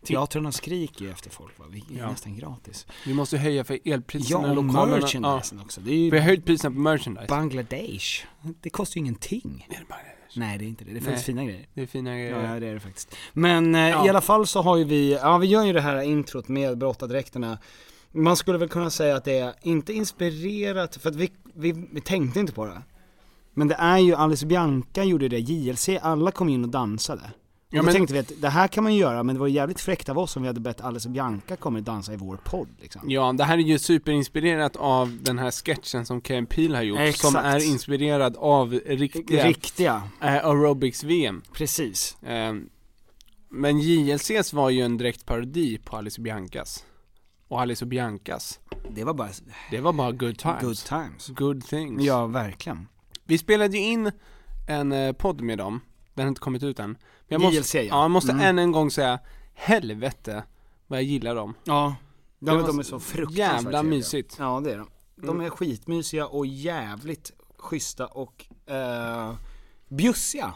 Speaker 1: Teatrarna skriker ju efter folk va, vi är
Speaker 2: Ja.
Speaker 1: nästan gratis.
Speaker 2: Vi måste höja för
Speaker 1: Ja,
Speaker 2: elpriserna,
Speaker 1: och
Speaker 2: lokalerna.
Speaker 1: merchandisen också. Det är
Speaker 2: Ja. Vi
Speaker 1: ju
Speaker 2: har höjt priserna på merchandise.
Speaker 1: Bangladesh. Det kostar ju ingenting.
Speaker 2: Är det bara det?
Speaker 1: Nej det är inte det, det finns
Speaker 2: Nej.
Speaker 1: fina grejer.
Speaker 2: Det är fina
Speaker 1: Ja,
Speaker 2: grejer.
Speaker 1: ja det är det faktiskt. Men eh,
Speaker 2: Ja.
Speaker 1: i alla fall så har ju vi, ja vi gör ju det här introt med brottardräkterna. Man skulle väl kunna säga att det är, inte inspirerat, för att vi, vi, vi tänkte inte på det. Men det är ju, Alice Bianca gjorde det, JLC, alla kom in och dansade. Och
Speaker 2: Ja,
Speaker 1: då
Speaker 2: men-
Speaker 1: tänkte vi att det här kan man ju göra, men det var ju jävligt fräckt av oss om vi hade bett Alice Bianca komma och dansa i vår podd liksom.
Speaker 2: Ja, det här är ju superinspirerat av den här sketchen som Kevin Peel har gjort, som
Speaker 1: Exakt.
Speaker 2: är inspirerad av riktiga
Speaker 1: Riktiga,
Speaker 2: eh, aerobics-VM.
Speaker 1: precis.
Speaker 2: Eh, men JLCs var ju en direkt parodi på Alice och Biancas. Och Alice och Biancas,
Speaker 1: Det var bara
Speaker 2: det var bara good times.
Speaker 1: good times.
Speaker 2: Good things.
Speaker 1: Ja, verkligen.
Speaker 2: Vi spelade ju in en eh, podd med dem, den har inte kommit ut än. Men jag
Speaker 1: JLC,
Speaker 2: måste,
Speaker 1: ja.
Speaker 2: ja. jag måste
Speaker 1: Mm.
Speaker 2: än en gång säga, helvete vad jag gillar dem.
Speaker 1: Ja,
Speaker 2: Det
Speaker 1: de,
Speaker 2: var
Speaker 1: de är
Speaker 2: så
Speaker 1: så fruktansvärt
Speaker 2: Jävla
Speaker 1: trevliga.
Speaker 2: mysigt.
Speaker 1: Ja det är de. De
Speaker 2: Mm.
Speaker 1: är skitmysiga och jävligt schyssta och eh, bjussiga.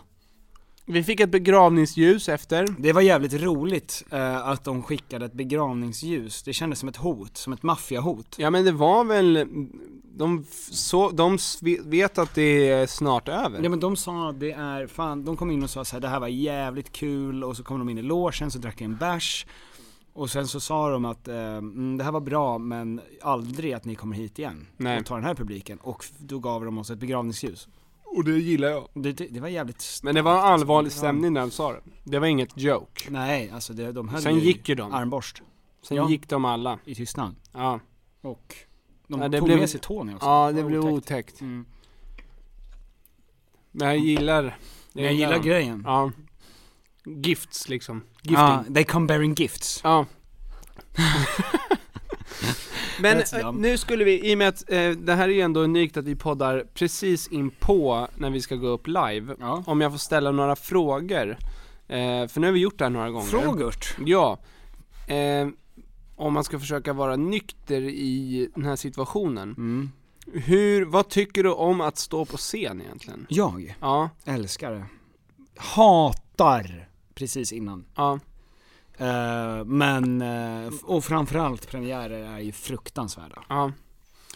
Speaker 2: Vi fick ett begravningsljus efter.
Speaker 1: Det var jävligt roligt eh, att de skickade ett begravningsljus. Det kändes som ett hot, som ett maffiahot.
Speaker 2: Ja men det var väl, de, f- så, de s- ve- vet att det är snart över.
Speaker 1: Ja men de sa det är, fan, de kom in och sa så här, det här var jävligt kul och så kom de in i logen så drack jag en bärs. Och sen så sa de att eh, mm, det här var bra men aldrig att ni kommer hit igen
Speaker 2: Nej.
Speaker 1: och tar den här publiken. Och f- då gav de oss ett begravningsljus.
Speaker 2: Och det gillar jag.
Speaker 1: Det, det, det var jävligt starkt.
Speaker 2: Men det var en allvarlig
Speaker 1: Ja.
Speaker 2: stämning när de sa det. Det var inget joke.
Speaker 1: Nej, alltså det, de höll
Speaker 2: Sen
Speaker 1: ju
Speaker 2: gick ju de.
Speaker 1: armborst
Speaker 2: Sen
Speaker 1: Ja.
Speaker 2: gick de alla.
Speaker 1: i tystnad.
Speaker 2: Ja,
Speaker 1: Och de
Speaker 2: Ja, det
Speaker 1: tog
Speaker 2: blev-
Speaker 1: med sig Tony också.
Speaker 2: ja det
Speaker 1: var
Speaker 2: blev
Speaker 1: Alltså, otäckt.
Speaker 2: otäckt.
Speaker 1: Mm.
Speaker 2: Men jag gillar
Speaker 1: Men jag gillar
Speaker 2: dem.
Speaker 1: grejen.
Speaker 2: Ja. Gifts liksom. Gifting.
Speaker 1: Ja, they come bearing gifts.
Speaker 2: Ja. Men
Speaker 1: That's
Speaker 2: eh,
Speaker 1: dumb.
Speaker 2: nu skulle vi, i och med att eh, det här är ju ändå unikt att vi poddar precis in på när vi ska gå upp live.
Speaker 1: Ja.
Speaker 2: Om jag får ställa några frågor. Eh, för nu har vi gjort det här några gånger.
Speaker 1: Frågurt.
Speaker 2: Ja. Eh, om man ska försöka vara nykter i den här situationen.
Speaker 1: Mm.
Speaker 2: Hur, vad tycker du om att stå på scen egentligen?
Speaker 1: Jag
Speaker 2: Ja,
Speaker 1: älskar det. Hatar precis innan.
Speaker 2: ja.
Speaker 1: Eh, men, eh, f- och framförallt premiärer är ju fruktansvärda.
Speaker 2: Ja,
Speaker 1: Men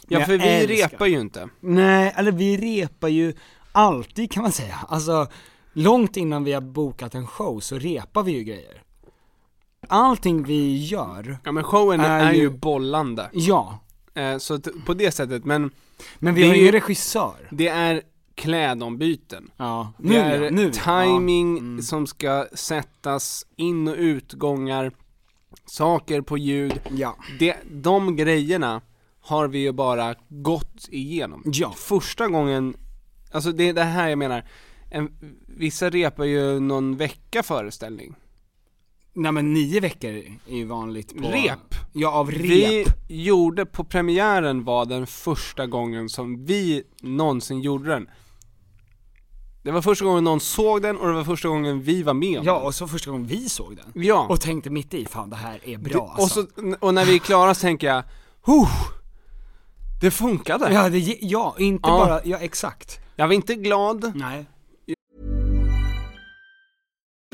Speaker 2: ja
Speaker 1: jag
Speaker 2: för vi
Speaker 1: älskar.
Speaker 2: repar ju inte.
Speaker 1: Nej, eller vi repar ju alltid kan man säga. Alltså, långt innan vi har bokat en show så repar vi ju grejer. Allting vi gör,
Speaker 2: Ja men showen
Speaker 1: Är
Speaker 2: är, ju
Speaker 1: ju
Speaker 2: bollande.
Speaker 1: ja.
Speaker 2: Eh, så att, på det sättet, men
Speaker 1: Men vi
Speaker 2: Det
Speaker 1: har
Speaker 2: är
Speaker 1: ju
Speaker 2: ju-
Speaker 1: en regissör.
Speaker 2: det är klädombyten.
Speaker 1: Ja.
Speaker 2: Det
Speaker 1: Nu,
Speaker 2: är
Speaker 1: ja, nu
Speaker 2: timing
Speaker 1: Ja. Mm.
Speaker 2: som ska sättas, in och utgångar, saker på ljud.
Speaker 1: Ja.
Speaker 2: Det, de grejerna har vi ju bara gått igenom.
Speaker 1: Ja.
Speaker 2: Första gången, alltså det är det här jag menar. en, vissa repar ju någon vecka föreställning.
Speaker 1: Nej men nio veckor är ju vanligt på...
Speaker 2: Rep?
Speaker 1: Ja, av rep.
Speaker 2: Vi gjorde, på premiären var den första gången som vi någonsin gjorde den. Det var första gången någon såg den och det var första gången vi var med om
Speaker 1: Ja, och så första gången vi såg den.
Speaker 2: den. Ja.
Speaker 1: Och tänkte mitt i, fan det här är bra
Speaker 2: det, och,
Speaker 1: alltså.
Speaker 2: så, och när vi är klara så tänker jag, huh, det funkade.
Speaker 1: Ja, det, ge- ja inte
Speaker 2: Ja.
Speaker 1: bara, ja exakt.
Speaker 2: Jag var inte glad,
Speaker 1: Nej.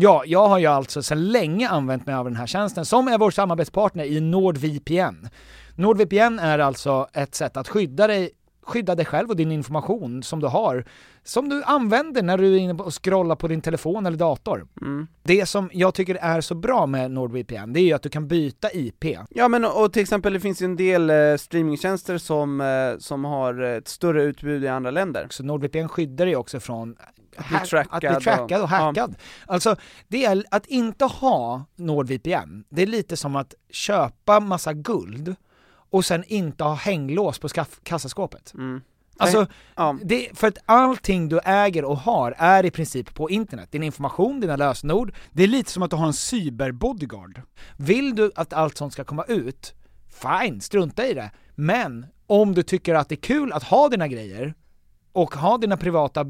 Speaker 5: Ja, jag har ju alltså sedan länge använt mig av den här tjänsten som är vår samarbetspartner i NordVPN. NordVPN är alltså ett sätt att skydda dig, skydda dig själv och din information som du har, som du använder när du är inne och scrollar på din telefon eller dator. Det som jag tycker är så bra med NordVPN, det är ju att du kan byta IP.
Speaker 6: Ja men och och till exempel det finns ju en del eh, streamingtjänster som, eh, som har ett större utbud i andra länder.
Speaker 5: Så NordVPN skyddar dig också från att
Speaker 6: bli
Speaker 5: att
Speaker 6: trackad
Speaker 5: bli
Speaker 6: och-
Speaker 5: trackad och
Speaker 6: ja.
Speaker 5: hackad. Alltså, det är att inte ha NordVPN, det är lite som att köpa massa guld och sen inte ha hänglås på skaff- kassaskåpet. Alltså,
Speaker 6: Mm. Ja.
Speaker 5: det, för att allting du äger och har är i princip på internet. Din information, dina lösenord. Det är lite som att du har en cyberbodyguard. Vill du att allt sånt ska komma ut, fine, strunta i det. Men om du tycker att det är kul att ha dina grejer och ha dina privata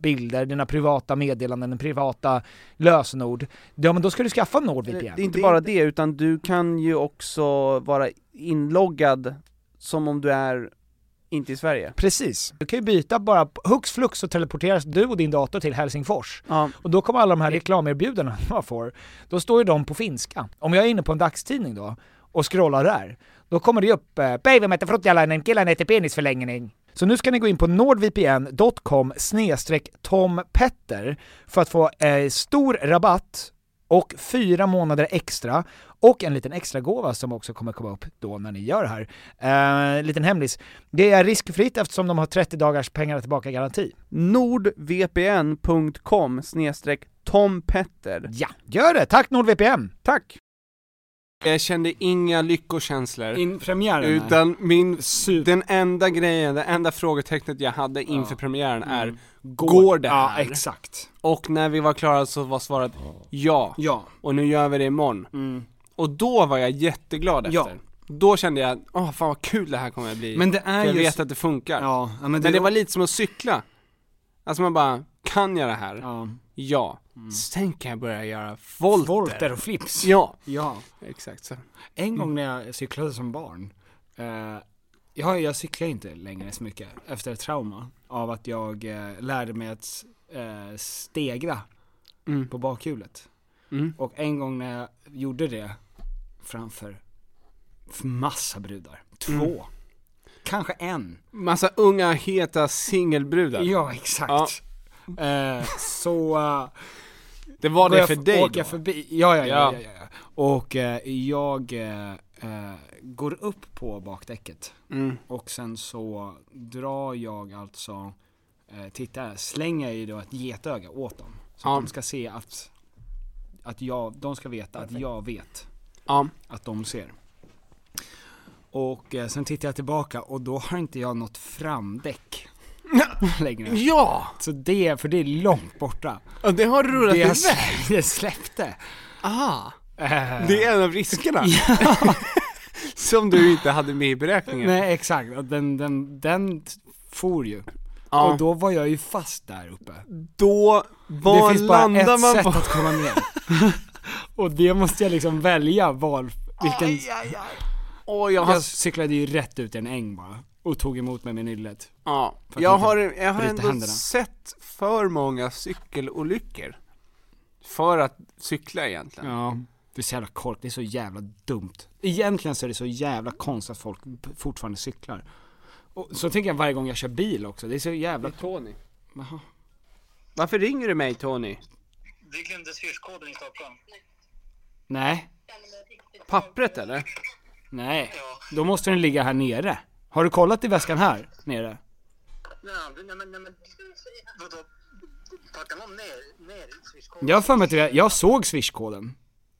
Speaker 5: bilder, dina privata meddelanden, dina privata lösenord, ja men då ska du skaffa NordVPN.
Speaker 6: Eh, Det är inte bara det, utan du kan ju också vara inloggad som om du är inte i Sverige.
Speaker 5: Precis. Du kan ju byta bara, hux flux så teleporteras du och din dator till Helsingfors.
Speaker 6: Ja.
Speaker 5: Och då kommer alla de här reklamerbjudandena man får, då står ju de på finska. Om jag är inne på en dagstidning då och scrollar där, då kommer det ju upp eh, “Päivä mätte fruttjalainen, killen heter penisförlängning”. Så nu ska ni gå in på nordvpn.com snedstreck tompetter för att få eh, stor rabatt och fyra månader extra och en liten extra gåva som också kommer komma upp då när ni gör det här. Eh, liten hemlis. Det är riskfritt eftersom de har 30 dagars pengar tillbaka-garanti.
Speaker 6: nordvpn.com snedstreck tompetter.
Speaker 5: Ja, gör det! Tack NordVPN!
Speaker 6: Tack!
Speaker 2: jag kände inga lyckokänslor.
Speaker 1: In premiären här.
Speaker 2: Utan min,
Speaker 1: Super-
Speaker 2: den enda grejen, det enda frågetecknet jag hade inför premiären är,
Speaker 1: Mm.
Speaker 2: Mm. går, det
Speaker 1: Ja,
Speaker 2: här?
Speaker 1: exakt.
Speaker 2: och när vi var klara så var svaret ja,
Speaker 1: Ja.
Speaker 2: och nu gör vi det imorgon. Och då var jag jätteglad efter.
Speaker 1: Ja.
Speaker 2: Då kände jag, åh fan vad kul det här kommer att bli.
Speaker 1: Men det
Speaker 2: För
Speaker 1: är
Speaker 2: jag
Speaker 1: ju...
Speaker 2: vet att det funkar.
Speaker 1: Ja, ja, men
Speaker 2: men
Speaker 1: det,
Speaker 2: det, var lite som att cykla. Alltså man bara, kan jag det här? Ja.
Speaker 1: Ja.
Speaker 2: Sen kan jag börja göra volter.
Speaker 1: Volter och flips.
Speaker 2: Ja,
Speaker 1: ja.
Speaker 2: exakt så.
Speaker 1: En
Speaker 2: Mm.
Speaker 1: gång när jag cyklade som barn, eh, jag, jag cyklar inte längre så mycket efter ett trauma av att jag eh, lärde mig att eh, stegra
Speaker 2: Mm.
Speaker 1: på bakhjulet. Och en gång när jag gjorde det framför f- massa brudar, två,
Speaker 2: Mm.
Speaker 1: kanske en.
Speaker 2: Massa unga heta singelbrudar.
Speaker 1: Ja, exakt. Eh, så eh,
Speaker 2: Det var
Speaker 1: går
Speaker 2: det
Speaker 1: jag
Speaker 2: för
Speaker 1: f-
Speaker 2: dig
Speaker 1: åker
Speaker 2: då?
Speaker 1: jag förbi, ja ja ja,
Speaker 2: Ja.
Speaker 1: ja, ja, ja. Och eh, jag eh, eh, går upp på bakdäcket
Speaker 2: Mm.
Speaker 1: och sen så drar jag alltså, eh, titta, slänger jag ju då ett getöga åt dem. Så
Speaker 2: Ja.
Speaker 1: att de ska se att, att jag, de ska veta att jag vet
Speaker 2: Ja.
Speaker 1: att de ser. Och eh, sen tittar jag tillbaka och då har inte jag något framdäck längre.
Speaker 2: Ja!
Speaker 1: Så det, för det är långt borta.
Speaker 2: Och det har rullat
Speaker 1: Det jag,
Speaker 2: iväg.
Speaker 1: s- det släppte. Eh,
Speaker 2: Ah. Det är en av riskerna. Som du inte hade med i beräkningen.
Speaker 1: Nej exakt, Och den, den, den t- for ju.
Speaker 2: Ja.
Speaker 1: Och då var jag ju fast där uppe.
Speaker 2: Då,
Speaker 1: det
Speaker 2: var
Speaker 1: finns bara
Speaker 2: landar
Speaker 1: ett
Speaker 2: man
Speaker 1: sätt
Speaker 2: på?
Speaker 1: att komma ner. och det måste jag liksom välja val, vilken...
Speaker 2: Aj, aj, aj. Åh, jag har...
Speaker 1: Jag cyklade ju rätt ut i en äng bara. Och tog emot mig med nyllet.
Speaker 2: Ja.
Speaker 1: För att
Speaker 2: Jag
Speaker 1: inte
Speaker 2: har, jag har
Speaker 1: bryta
Speaker 2: ändå
Speaker 1: händerna.
Speaker 2: sett för många cykelolyckor. För att cykla egentligen.
Speaker 1: Ja. Det är så jävla kork, det är så jävla dumt. Egentligen så är det så jävla konstigt att folk b- fortfarande cyklar. Och så tänker jag varje gång jag kör bil också, det är så jävla...
Speaker 2: Tony.
Speaker 1: Jaha.
Speaker 2: Varför ringer du mig Tony?
Speaker 7: Du glömde swishkoden i Stockholm.
Speaker 1: Nej,
Speaker 2: Pappret eller?
Speaker 1: nej. Då måste den ligga här nere. Har du kollat i väskan här nere?
Speaker 7: Nej, aldrig. Nej, men, nej, men vadå? Pratar man om ner, ner swishkoden?
Speaker 1: Jag har för mig att jag, jag såg swishkoden.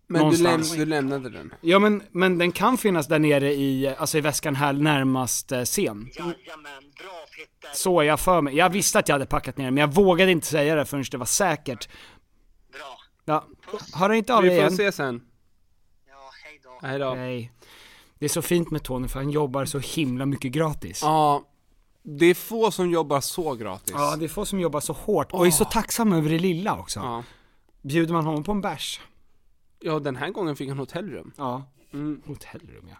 Speaker 2: Men du,
Speaker 1: Någonstans.
Speaker 2: läm- du lämnade den.
Speaker 1: Ja men, men den kan finnas där nere i, alltså i väskan här närmast eh, scen.
Speaker 7: Jajamän, bra Fritte.
Speaker 1: Så jag för mig. Jag visste att jag hade packat ner den, men jag vågade inte säga det förrän det var säkert.
Speaker 7: Bra.
Speaker 1: Ja, hör inte av dig
Speaker 2: Vi får
Speaker 1: igen.
Speaker 2: se sen.
Speaker 7: Ja, hej då.
Speaker 2: Hej då.
Speaker 1: Nej. Det är så fint med Tony för han jobbar så himla mycket gratis.
Speaker 2: Ja, det är få som jobbar så gratis.
Speaker 1: Ja, det är få som jobbar så hårt och är så tacksamma över det lilla också.
Speaker 2: Ja.
Speaker 1: Bjuder man honom på en bärs?
Speaker 2: Ja, den här gången fick han hotellrum. Mm.
Speaker 1: Ja. Hotellrum ja.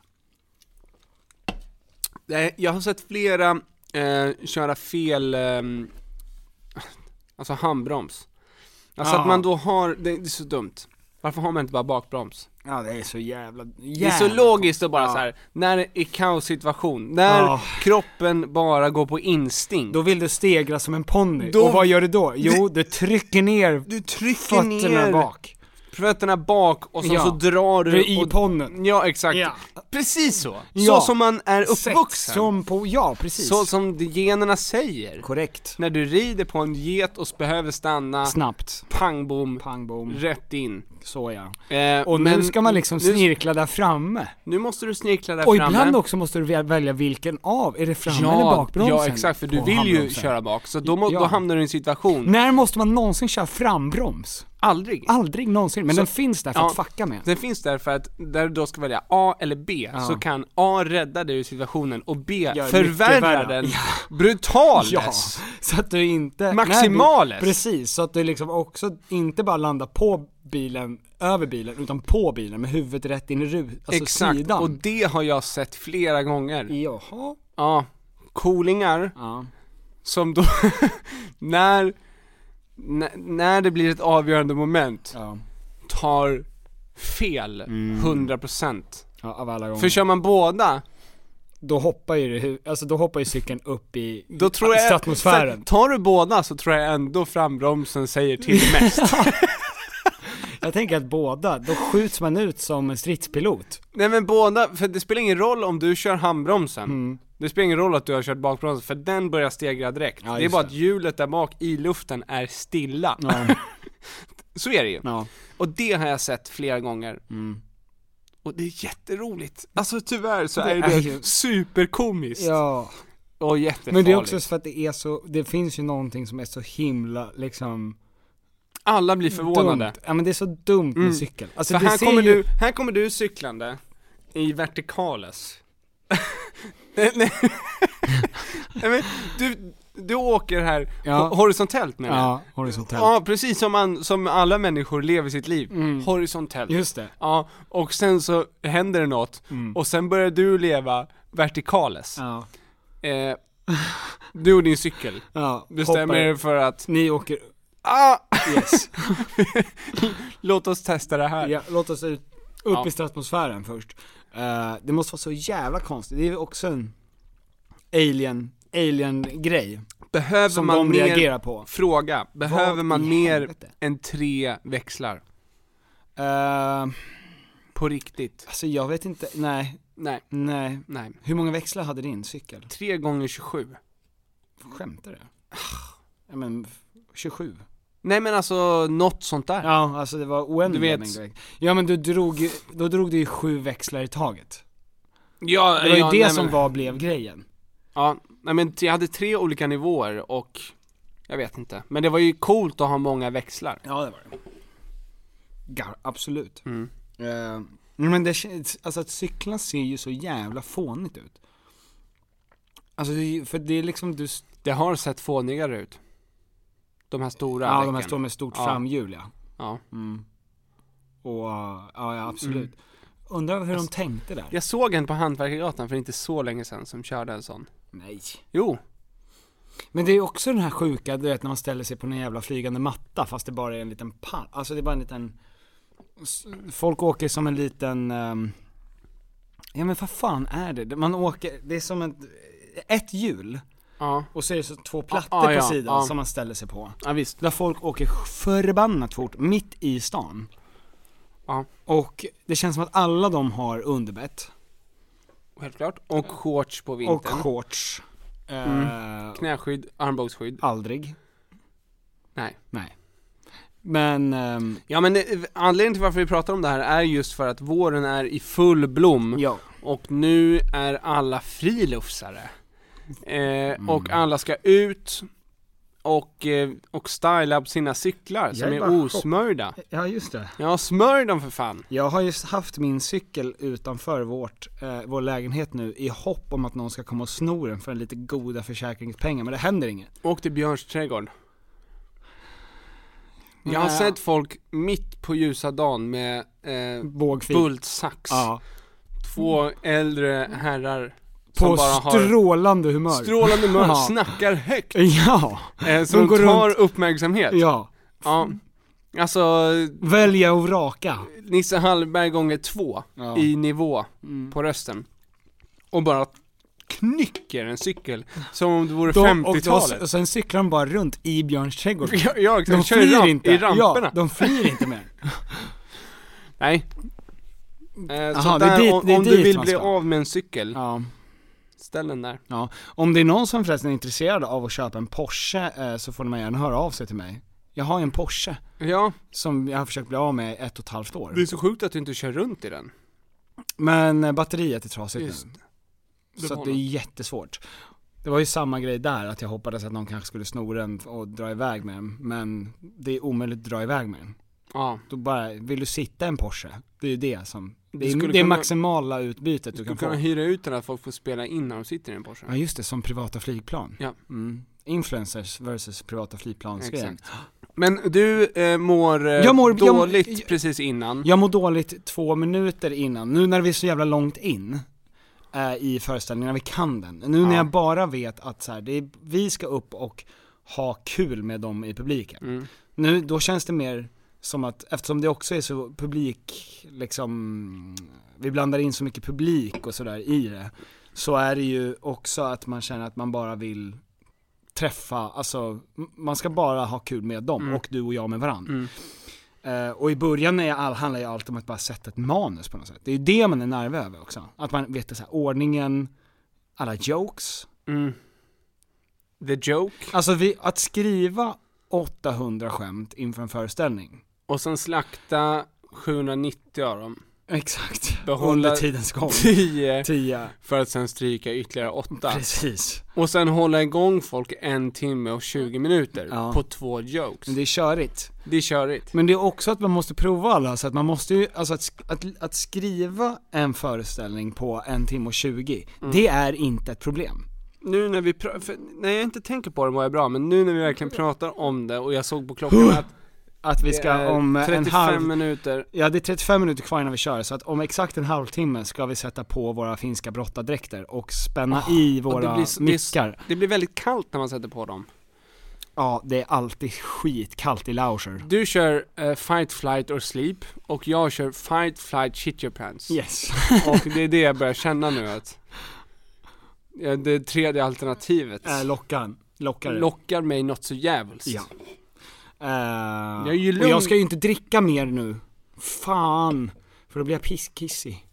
Speaker 2: Nej, Jag har sett flera eh, köra fel, ehm, alltså handbroms. Alltså
Speaker 1: Ja.
Speaker 2: att man då har, det, det är så dumt. Varför har man inte bara bakbroms?
Speaker 1: Ja det är så jävla,
Speaker 2: Det är
Speaker 1: jävla...
Speaker 2: så logiskt att bara
Speaker 1: Ja.
Speaker 2: så här. när det är kaossituation, när
Speaker 1: Ja.
Speaker 2: kroppen bara går på instinkt.
Speaker 1: Då vill du stegra som en ponny,
Speaker 2: Då-
Speaker 1: och vad gör du då? Jo, du trycker ner
Speaker 2: du trycker
Speaker 1: fötterna
Speaker 2: ner
Speaker 1: bak.
Speaker 2: fötterna bak och sen
Speaker 1: Ja.
Speaker 2: så drar du,
Speaker 1: Du är i
Speaker 2: och,
Speaker 1: ponnen.
Speaker 2: Ja, exakt.
Speaker 1: Ja.
Speaker 2: Precis så.
Speaker 1: Ja.
Speaker 2: Så som man är
Speaker 1: Sex
Speaker 2: uppvuxen.
Speaker 1: som på, ja precis.
Speaker 2: Så som de- generna säger.
Speaker 1: Korrekt.
Speaker 2: När du rider på en get och s- behöver stanna,
Speaker 1: Snabbt.
Speaker 2: pang bom,
Speaker 1: Pang bom.
Speaker 2: rätt in.
Speaker 1: Så ja.
Speaker 2: Eh,
Speaker 1: Och nu ska man liksom
Speaker 2: nu,
Speaker 1: snirkla där framme.
Speaker 2: nu måste du snirkla där
Speaker 1: Och
Speaker 2: framme.
Speaker 1: ibland också måste du väl- välja vilken av, är det fram eller
Speaker 2: Ja,
Speaker 1: bakbromsen?
Speaker 2: ja, exakt, för du
Speaker 1: på
Speaker 2: vill ju
Speaker 1: handbromsen?
Speaker 2: köra bak, så då, må,
Speaker 1: Ja.
Speaker 2: då hamnar du i en situation.
Speaker 1: När måste man någonsin köra frambroms?
Speaker 2: Aldrig.
Speaker 1: Aldrig någonsin, men
Speaker 2: Så-
Speaker 1: den finns där för
Speaker 2: Ja,
Speaker 1: att fucka med.
Speaker 2: Den finns där för att, där du då ska välja A eller B, så kan A rädda dig ur situationen och B
Speaker 1: mycket
Speaker 2: förvärra
Speaker 1: värre.
Speaker 2: den
Speaker 1: Ja.
Speaker 2: brutalt.
Speaker 1: Ja, Alltså, så att du inte...
Speaker 2: Maximalet.
Speaker 1: när Du, precis, så att du liksom också inte bara landar på bilen, över bilen, utan på bilen med huvudet rätt in i ru, alltså
Speaker 2: Exakt,
Speaker 1: sidan.
Speaker 2: och det har jag sett flera gånger.
Speaker 1: Jaha.
Speaker 2: Ja, coolingar
Speaker 1: Ja.
Speaker 2: som då, när, när, när det blir ett avgörande moment,
Speaker 1: Ja.
Speaker 2: tar fel
Speaker 1: Mm.
Speaker 2: 100%.
Speaker 1: ja, av alla gånger.
Speaker 2: För kör man båda,
Speaker 1: då hoppar ju det hu- alltså då hoppar ju cykeln upp i,
Speaker 2: då tror jag...
Speaker 1: i atmosfären.
Speaker 2: så- Tar du båda så tror jag ändå frambromsen säger till mest.
Speaker 1: Jag tänker att båda, då skjuts man ut som en stridspilot.
Speaker 2: Nej men båda, för det spelar ingen roll om du kör handbromsen.
Speaker 1: Mm.
Speaker 2: Det spelar ingen roll att du har kört bakbromsen, för den börjar stegra direkt.
Speaker 1: Ja,
Speaker 2: det är
Speaker 1: just
Speaker 2: bara
Speaker 1: det.
Speaker 2: att hjulet där bak i luften är stilla. Så är det ju.
Speaker 1: Ja. Mm.
Speaker 2: Och det har jag sett flera gånger. Och det är jätteroligt. Alltså tyvärr så är det
Speaker 1: är ju-
Speaker 2: superkomiskt.
Speaker 1: ja.
Speaker 2: Och jättefarligt.
Speaker 1: Men det är också för att det är så, det finns ju någonting som är så himla liksom
Speaker 2: Alla blir förvånade.
Speaker 1: dumt. Ja men det är så dumt med cykel. Alltså
Speaker 2: Mm. För
Speaker 1: det
Speaker 2: här
Speaker 1: ser
Speaker 2: kommer,
Speaker 1: ju...
Speaker 2: du, här kommer du cyklande i vertikales. nej, nej. nej men du, du åker här
Speaker 1: Ja.
Speaker 2: ho- horisontellt menar jag.
Speaker 1: Ja, horisontellt.
Speaker 2: Ja, precis som, man, som alla människor lever sitt liv. Horisontellt.
Speaker 1: Just det. Mm.
Speaker 2: Ja, och sen så händer det något och sen börjar du leva vertikales.
Speaker 1: Ja.
Speaker 2: Eh, du och din cykel
Speaker 1: ja.
Speaker 2: bestämmer er
Speaker 1: hoppar.
Speaker 2: för att,
Speaker 1: Ni åker,
Speaker 2: ah,
Speaker 1: yes.
Speaker 2: låt oss testa det här.
Speaker 1: ja, låt oss ut, upp i stratosfären först. Eh, det måste vara så jävla konstigt, det är ju också en alien, alien grej.
Speaker 2: Behöver
Speaker 1: Som
Speaker 2: man
Speaker 1: de
Speaker 2: mer,
Speaker 1: reagerar på.
Speaker 2: Fråga, behöver
Speaker 1: Vad
Speaker 2: man
Speaker 1: i
Speaker 2: mer
Speaker 1: helvete?
Speaker 2: än tre växlar? På riktigt?
Speaker 1: Eh, alltså jag vet inte, nej,
Speaker 2: Nej,
Speaker 1: nej.
Speaker 2: nej.
Speaker 1: Hur många växlar hade din cykel?
Speaker 2: Tre gånger 27.
Speaker 1: Skämtar du? Ja men, f- 27.
Speaker 2: Nej men alltså, något sånt där.
Speaker 1: Ja, alltså det var oändliga
Speaker 2: vet-
Speaker 1: mängder växlar. Ja men du drog ju- då drog du ju sju växlar i taget.
Speaker 2: Ja,
Speaker 1: Det var ju
Speaker 2: ja,
Speaker 1: det
Speaker 2: nej,
Speaker 1: som
Speaker 2: men,
Speaker 1: var, blev grejen.
Speaker 2: Ja, nej men t- jag hade tre olika nivåer och jag vet inte. Men det var ju coolt att ha många växlar.
Speaker 1: Ja det var det. Gar, absolut. Mm. men det känns, alltså att cykla ser ju så jävla fånigt ut. Alltså det är ju- för det är liksom du, s-
Speaker 2: Det har sett fånigare ut. De här stora
Speaker 1: ja de här
Speaker 2: däcken.
Speaker 1: står med stort
Speaker 2: Ja.
Speaker 1: framhjul ja. Mm.
Speaker 2: Ja.
Speaker 1: Och, ja, ja absolut. Undrar hur de tänkte där.
Speaker 2: Jag såg en på Hantverkargatan för inte så länge sedan som körde en sån.
Speaker 1: Nej.
Speaker 2: Jo,
Speaker 1: Men det är också den här sjuka, du vet när man ställer sig på en jävla flygande matta fast det bara är en liten pall, alltså det är bara en liten s- Folk åker som en liten ehm, Ja men vad fan är det? Man åker, det är som en ett hjul
Speaker 2: Ja,
Speaker 1: och så är det så två plattor
Speaker 2: Ah, ah,
Speaker 1: på
Speaker 2: ja,
Speaker 1: sidan
Speaker 2: ah.
Speaker 1: som man ställer sig på.
Speaker 2: ja visst.
Speaker 1: Där folk åker förbannat fort, mitt i stan.
Speaker 2: Ja.
Speaker 1: Och det känns som att alla de har underbett.
Speaker 2: Självklart. Och shorts på
Speaker 1: Och
Speaker 2: vintern. Mm.
Speaker 1: shorts. Eh,
Speaker 2: Knäskydd, armbågsskydd.
Speaker 1: Aldrig.
Speaker 2: Nej.
Speaker 1: Nej. Men, ehm,
Speaker 2: Ja men eh, anledningen till varför vi pratar om det här är just för att våren är i full blom.
Speaker 1: ja.
Speaker 2: Och nu är alla friluftsare. Eh,
Speaker 1: Mm.
Speaker 2: Och alla ska ut och, eh, och styla upp sina cyklar som
Speaker 1: är
Speaker 2: är,
Speaker 1: bara chock-
Speaker 2: osmörjda.
Speaker 1: Ja, just det.
Speaker 2: Ja, smörj dem för fan!
Speaker 1: Jag har just haft min cykel utanför vårt, eh, vår lägenhet nu i hopp om att någon ska komma och sno den för en lite goda försäkringspengar, men det händer inget.
Speaker 2: Åk till Björns trädgård. Jag har
Speaker 1: Nej.
Speaker 2: sett folk mitt på ljusa dagen med eh,
Speaker 1: Bågfil.
Speaker 2: bultsax.
Speaker 1: Ja.
Speaker 2: Två äldre herrar
Speaker 1: På
Speaker 2: som bara har
Speaker 1: strålande humör.
Speaker 2: strålande humör,
Speaker 1: Ja.
Speaker 2: snackar högt.
Speaker 1: Ja,
Speaker 2: Eh, som
Speaker 1: går
Speaker 2: tar
Speaker 1: runt.
Speaker 2: uppmärksamhet.
Speaker 1: ja.
Speaker 2: Ja.
Speaker 1: Mm.
Speaker 2: Alltså,
Speaker 1: Välja och vraka.
Speaker 2: Nisse Hallberg gånger två
Speaker 1: Ja. Mm.
Speaker 2: i nivå på rösten. Och bara knycker en cykel som om det vore
Speaker 1: Då- och, då,
Speaker 2: 50-talet.
Speaker 1: och sen cyklar de bara runt i Björns trädgård.
Speaker 2: Ja, ja, exakt.
Speaker 1: De
Speaker 2: Kör i
Speaker 1: flyr
Speaker 2: ramp-
Speaker 1: inte.
Speaker 2: i ramperna.
Speaker 1: Ja, de flyr inte mer.
Speaker 2: Nej. Eh, så
Speaker 1: Aha, det är
Speaker 2: där,
Speaker 1: dit-
Speaker 2: om,
Speaker 1: det är
Speaker 2: om du
Speaker 1: dit
Speaker 2: vill
Speaker 1: man
Speaker 2: bli
Speaker 1: ska.
Speaker 2: av med en cykel,
Speaker 1: Ja.
Speaker 2: ställ den där.
Speaker 1: Ja, om det är någon som förresten är intresserad av att köpa en Porsche eh, så får man gärna höra av sig till mig. Jag har ju en Porsche
Speaker 2: Ja,
Speaker 1: som jag har försökt bli av med i ett och ett halvt år.
Speaker 2: det är så sjukt att du inte kör runt i den.
Speaker 1: Men eh, batteriet är trasigt
Speaker 2: Just.
Speaker 1: nu. Så
Speaker 2: var
Speaker 1: att det är
Speaker 2: något.
Speaker 1: jättesvårt. Det var ju samma grej där, att jag hoppades att någon kanske skulle sno den och dra iväg med den. Men det är omöjligt att dra iväg med den.
Speaker 2: Ja.
Speaker 1: Då bara, vill du sitta i en Porsche? Det är ju det som, det är, det
Speaker 2: skulle
Speaker 1: är
Speaker 2: kunna-
Speaker 1: maximala utbytet du
Speaker 2: Du
Speaker 1: kan
Speaker 2: kan
Speaker 1: få.
Speaker 2: hyra ut den att folk får spela in när de sitter i en Porsche.
Speaker 1: Ja just det, som privata flygplan.
Speaker 2: Ja.
Speaker 1: Mm. Influencers versus privata flygplansgrejen.
Speaker 2: Exakt. Men du eh, mår, eh,
Speaker 1: Jag mår- jag-
Speaker 2: dåligt
Speaker 1: jag-
Speaker 2: precis innan.
Speaker 1: Jag mår dåligt två minuter innan, nu när vi är så jävla långt in eh, i föreställningen, när vi kan den. Nu när
Speaker 2: Ja.
Speaker 1: jag bara vet att så här, det är, vi ska upp och ha kul med dem i publiken.
Speaker 2: Mm.
Speaker 1: Nu, då känns det mer som att, eftersom det också är så publik, liksom, vi blandar in så mycket publik och sådär i det, så är det ju också att man känner att man bara vill träffa, alltså m- man ska bara ha kul med dem och du och jag med varandra. Eh, och i början är all, handlar ju allt om att bara sätta ett manus på något sätt. Det är ju det man är nervös över också. Att man vet det så här, ordningen, alla jokes.
Speaker 2: Mm. The joke.
Speaker 1: Alltså vi, att skriva 800 skämt inför en föreställning.
Speaker 2: Och sen slakta 790 av dem.
Speaker 1: Exakt.
Speaker 2: Behålla-
Speaker 1: Under tidens gång.
Speaker 2: 10
Speaker 1: 10.
Speaker 2: för att sen stryka ytterligare 8.
Speaker 1: Precis.
Speaker 2: Och sen hålla igång folk en timme och 20 minuter
Speaker 1: Ja.
Speaker 2: på två jokes.
Speaker 1: Men
Speaker 2: Det,
Speaker 1: det är körigt.
Speaker 2: är körigt.
Speaker 1: Men det är också att man måste prova alla, så att man måste ju, alltså att, sk- att, att skriva en föreställning på en timme och 20,
Speaker 2: Mm.
Speaker 1: det är inte ett problem.
Speaker 2: Nu när vi pra- för när jag inte tänker på det mår jag bra, men nu när vi verkligen pratar om det och jag såg på klockan att
Speaker 1: Att vi
Speaker 2: det
Speaker 1: ska
Speaker 2: är
Speaker 1: om eh,
Speaker 2: 35
Speaker 1: en halv
Speaker 2: minuter.
Speaker 1: Ja det är 35 minuter kvar innan vi kör, så att om exakt en halvtimme ska vi sätta på våra finska brottardräkter och spänna
Speaker 2: Ah,
Speaker 1: i
Speaker 2: och
Speaker 1: våra
Speaker 2: så-
Speaker 1: mickar.
Speaker 2: Det, det blir väldigt kallt när man sätter på dem.
Speaker 1: Ja, det är alltid skitkallt i Lauscher.
Speaker 2: Du kör eh, fight, flight or sleep och jag kör fight, flight, shit your pants.
Speaker 1: Yes.
Speaker 2: Och det är det jag börjar känna nu att ja, det tredje alternativet
Speaker 1: Äh, lockan. Lockar det.
Speaker 2: lockar mig något så djävulskt.
Speaker 1: Ja. Eh,
Speaker 2: Jag är ju
Speaker 1: och
Speaker 2: lugn.
Speaker 1: jag ska ju inte dricka mer nu. Fan. För då blir jag pisskissig.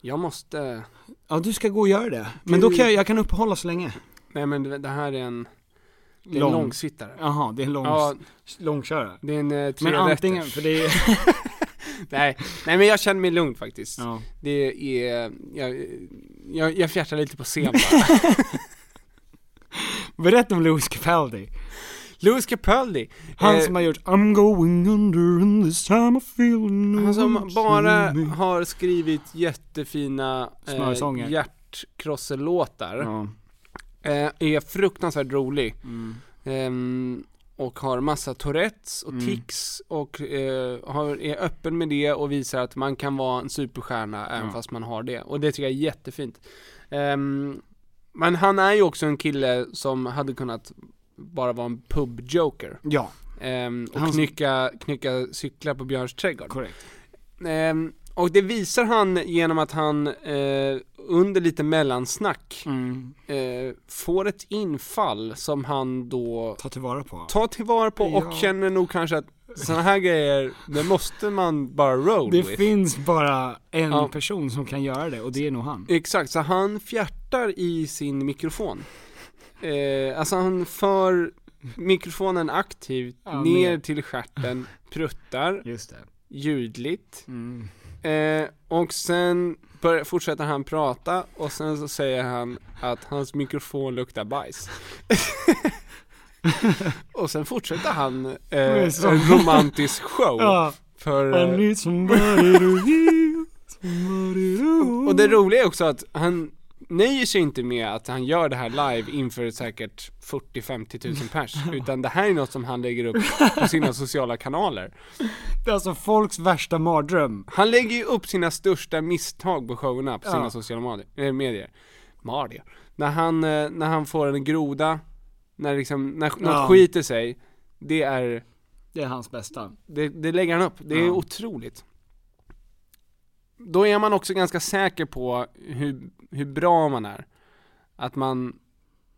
Speaker 2: Jag måste...
Speaker 1: Ja du ska gå och göra det. Men då kan jag, jag kan uppehålla så länge.
Speaker 2: Nej men det det här är en, det är en
Speaker 1: Lång.
Speaker 2: långsittare.
Speaker 1: Jaha, det är en lång,
Speaker 2: Ja,
Speaker 1: långkörare.
Speaker 2: det är en eh,
Speaker 1: Men antingen,
Speaker 2: trerätters.
Speaker 1: för det är...
Speaker 2: Nej, nej men jag känner mig lugn faktiskt.
Speaker 1: ja.
Speaker 2: Det är, jag, jag, jag fjärtar lite på scen bara.
Speaker 1: Berätta om Lewis Capaldi.
Speaker 2: Lewis Capaldi.
Speaker 1: Han
Speaker 2: eh,
Speaker 1: som har gjort I'm going under and this time I feel no
Speaker 2: han som
Speaker 1: one
Speaker 2: alltså, bara
Speaker 1: to me.
Speaker 2: har skrivit jättefina eh,
Speaker 1: Smörsånger.
Speaker 2: hjärtkrosselåtar.
Speaker 1: Ja.
Speaker 2: eh, är fruktansvärt rolig.
Speaker 1: Mm.
Speaker 2: Ehm, och har massa Tourettes och tics och eh, har, är öppen med det och visar att man kan vara en superstjärna även fast man har det. Och det tycker jag är jättefint. Ehm, men han är ju också en kille som hade kunnat bara vara en pubjoker.
Speaker 1: ja,
Speaker 2: Ehm, och
Speaker 1: Han-
Speaker 2: knycka, knycka cyklar på Björns trädgård.
Speaker 1: korrekt.
Speaker 2: Ehm, Och det visar han genom att han eh, under lite mellansnack
Speaker 1: Mm.
Speaker 2: eh, får ett infall som han då
Speaker 1: Ta tillvara på.
Speaker 2: tar tillvara på och
Speaker 1: Ja.
Speaker 2: känner nog kanske att sådana här grejer, det måste man bara roll
Speaker 1: Det
Speaker 2: with.
Speaker 1: finns bara en
Speaker 2: Ja.
Speaker 1: person som kan göra det och det är nog han.
Speaker 2: Exakt, så han fjärtar i sin mikrofon. Eh, alltså han för mikrofonen aktivt
Speaker 1: Ja,
Speaker 2: ner
Speaker 1: ner.
Speaker 2: till stjärten, pruttar
Speaker 1: Just det.
Speaker 2: ljudligt.
Speaker 1: Mm.
Speaker 2: Eh, och sen börjar, fortsätter han prata och sen så säger han att hans mikrofon luktar bajs. och sen fortsätter han eh,
Speaker 1: är
Speaker 2: en
Speaker 1: så-
Speaker 2: romantisk show.
Speaker 1: Ja.
Speaker 2: För, eh,
Speaker 1: somebody to give, somebody to
Speaker 2: och det roliga är också att han nöjer sig inte med att han gör det här live inför säkert 40-50 tusen pers. Utan det här är något som han lägger upp på sina sociala kanaler.
Speaker 1: Det är alltså folks värsta mardröm.
Speaker 2: Han lägger ju upp sina största misstag på showerna på sina
Speaker 1: Ja.
Speaker 2: sociala medier. eh, medier. Marier. När han, eh, när han får en groda, när liksom, när
Speaker 1: Ja.
Speaker 2: något skiter sig, det är,
Speaker 1: Det är hans bästa.
Speaker 2: det, det lägger han upp. Det är
Speaker 1: Ja.
Speaker 2: otroligt. Då är man också ganska säker på hur, hur bra man är. Att man,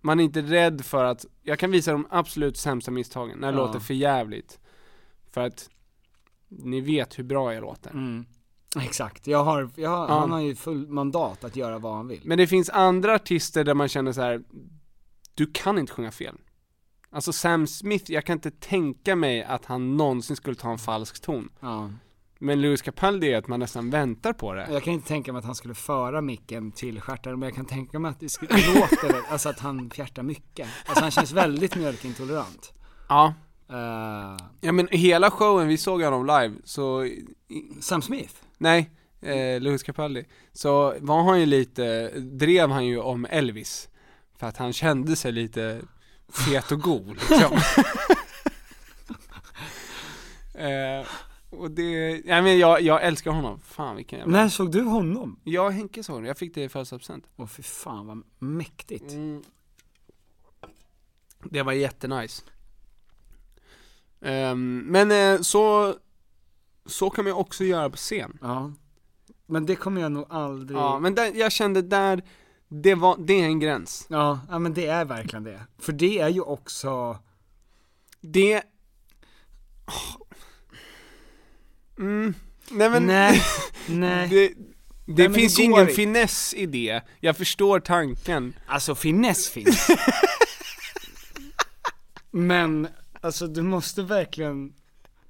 Speaker 2: man är inte rädd för att, jag kan visa de absolut sämsta misstagen, när det
Speaker 1: Ja.
Speaker 2: låter för jävligt För att, ni vet hur bra jag låter.
Speaker 1: Mm. Exakt, jag har, jag har,
Speaker 2: Ja.
Speaker 1: han har ju full mandat att göra vad han vill.
Speaker 2: Men det finns andra artister där man känner så här. du kan inte sjunga fel. Alltså Sam Smith, jag kan inte tänka mig att han någonsin skulle ta en falsk ton.
Speaker 1: Ja.
Speaker 2: Men Lewis Capaldi är att man nästan väntar på det.
Speaker 1: Jag kan inte tänka mig att han skulle föra micken till stjärten, men jag kan tänka mig att det skulle det låter, alltså att han fjärtar mycket. Alltså han känns väldigt mjölkintolerant.
Speaker 2: Ja.
Speaker 1: Eh,
Speaker 2: Ja men hela showen, vi såg honom live, så, i-
Speaker 1: Sam Smith?
Speaker 2: nej, eh, Lewis Capaldi, så var han ju lite, drev han ju om Elvis. För att han kände sig lite fet och god liksom. eh, och det, nej men jag, jag älskar honom, fan vilken jävla
Speaker 1: När såg du honom?
Speaker 2: Jag och Henke såg honom, jag fick det i födelsedagspresent.
Speaker 1: Åh fy fan vad mäktigt.
Speaker 2: Mm. Det var jättenice. Ehm, men eh, så, så kan man ju också göra på scen.
Speaker 1: Ja. Men det kommer jag nog aldrig...
Speaker 2: Ja, men där, jag kände där, det, var, det är en gräns.
Speaker 1: Ja, ja men det är verkligen det. För det är ju också,
Speaker 2: Det... Åh. Mm. Nej men,
Speaker 1: nej, nej.
Speaker 2: det, det
Speaker 1: men
Speaker 2: finns
Speaker 1: det
Speaker 2: ju
Speaker 1: går
Speaker 2: ingen
Speaker 1: inte.
Speaker 2: finess i det. Jag förstår tanken.
Speaker 1: Alltså finess finns. men, alltså du måste verkligen,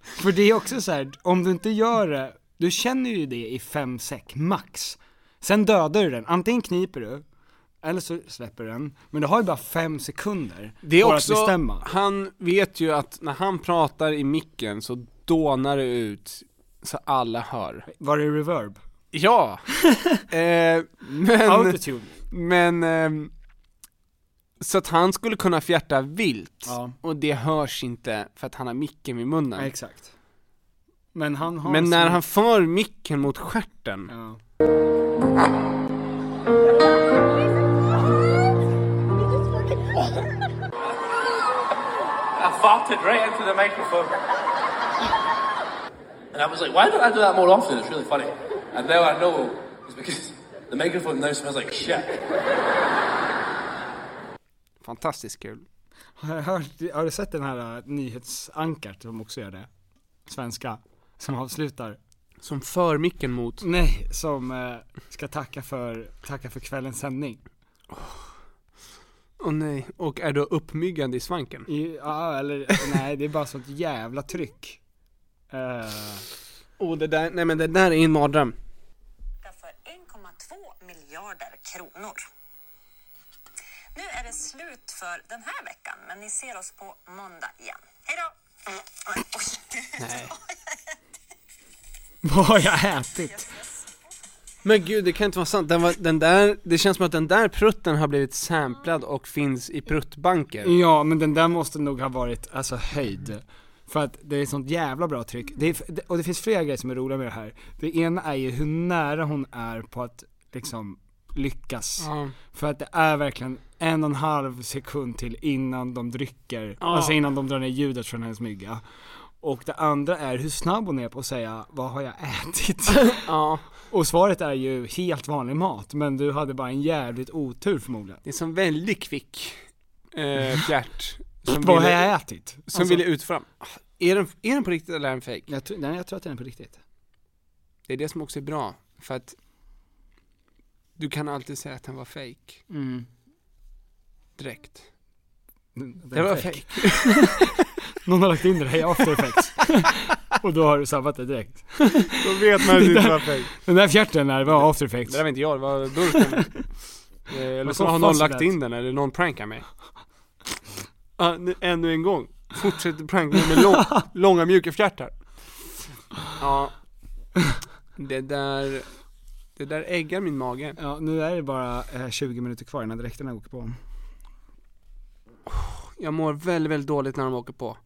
Speaker 1: för det är också så här, om du inte gör det, du känner ju det i fem sek max. Sen dödar du den, antingen kniper du, eller så släpper du den, men du har ju bara fem sekunder
Speaker 2: Det är
Speaker 1: för
Speaker 2: också,
Speaker 1: att bestämma.
Speaker 2: han vet ju att när han pratar i micken så dånar det ut så alla hör.
Speaker 1: Var det reverb?
Speaker 2: Ja! eh, men,
Speaker 1: Autotune?
Speaker 2: men ehm, så att han skulle kunna fjärta vilt
Speaker 1: Ja.
Speaker 2: och det hörs inte för att han har micken vid
Speaker 1: Ja,
Speaker 2: munnen.
Speaker 1: exakt. Men han har
Speaker 2: Men när
Speaker 1: sin-
Speaker 2: han för micken mot stjärten,
Speaker 1: Ja.
Speaker 8: I farted right into the microphone. And I was like, why don't I do that more often? It's really funny. And now I know it's because the microphone now smells like shit.
Speaker 2: fantastiskt kul.
Speaker 1: Har, jag hört, har du sett den här äh, nyhetsankart som också gör det? Svenska. Som avslutar.
Speaker 2: Som för micken mot,
Speaker 1: Nej, som eh, ska tacka för, tacka för kvällens sändning.
Speaker 2: åh nej, och är då uppmyggande i svanken.
Speaker 1: I, ja, eller nej, det är bara sånt jävla tryck. Eh,
Speaker 2: Och det där, nej men det där är en mardröm.
Speaker 9: för 1,2 miljarder kronor. Nu är det slut för den här veckan, men ni ser oss på måndag igen. Hej då! Oj,
Speaker 2: Nej.
Speaker 1: vad har jag ätit?
Speaker 2: Men gud, det kan inte vara sant. Den, var, den där, det känns som att den där prutten har blivit samplad och finns i pruttbanken.
Speaker 1: Ja, men den där måste nog ha varit, alltså höjd. För att det är sånt jävla bra tryck. Det är, f- det- och det finns flera grejer som är roliga med det här. Det ena är ju hur nära hon är på att liksom lyckas.
Speaker 2: Ja.
Speaker 1: För att det är verkligen en och en halv sekund till innan de dricker, alltså innan de drar ner ljudet från hennes mygga. Och det andra är hur snabb hon är på att säga vad har jag ätit?
Speaker 2: Ja.
Speaker 1: Och svaret är ju helt vanlig mat men du hade bara en jävligt otur förmodligen.
Speaker 2: Det är som väldigt kvick eh, fjärt. som
Speaker 1: vad har
Speaker 2: ville-
Speaker 1: jag ätit? Alltså-
Speaker 2: Som ville ut fram. Är den, är den på riktigt eller är den fake?
Speaker 1: Jag, tror- nej, jag tror att den är på riktigt.
Speaker 2: Det är det som också är bra. För att du kan alltid säga att den var fake
Speaker 1: Mm.
Speaker 2: direkt.
Speaker 1: Den
Speaker 2: Det
Speaker 1: är
Speaker 2: var
Speaker 1: fake.
Speaker 2: fake.
Speaker 1: Någon har lagt in det här i after effects. och då har du sabbat det direkt.
Speaker 2: Då vet man att det inte var fake.
Speaker 1: Den där fjärten där var after
Speaker 2: Det
Speaker 1: effects.
Speaker 2: där var inte jag, det var burken. Eh, Eller
Speaker 1: Vad
Speaker 2: så
Speaker 1: sa
Speaker 2: har någon
Speaker 1: Fuzzy
Speaker 2: lagt
Speaker 1: Rat?
Speaker 2: in den eller någon prankar mig. Ah, nu, ännu en gång. Fortsätter pranka mig med lång, långa mjuka fjärtar. Ja. Det där, det där äggar min mage.
Speaker 1: Ja, nu är det bara eh, 20 minuter kvar innan dräkterna åker på.
Speaker 2: Jag mår väldigt, väldigt dåligt när de åker på.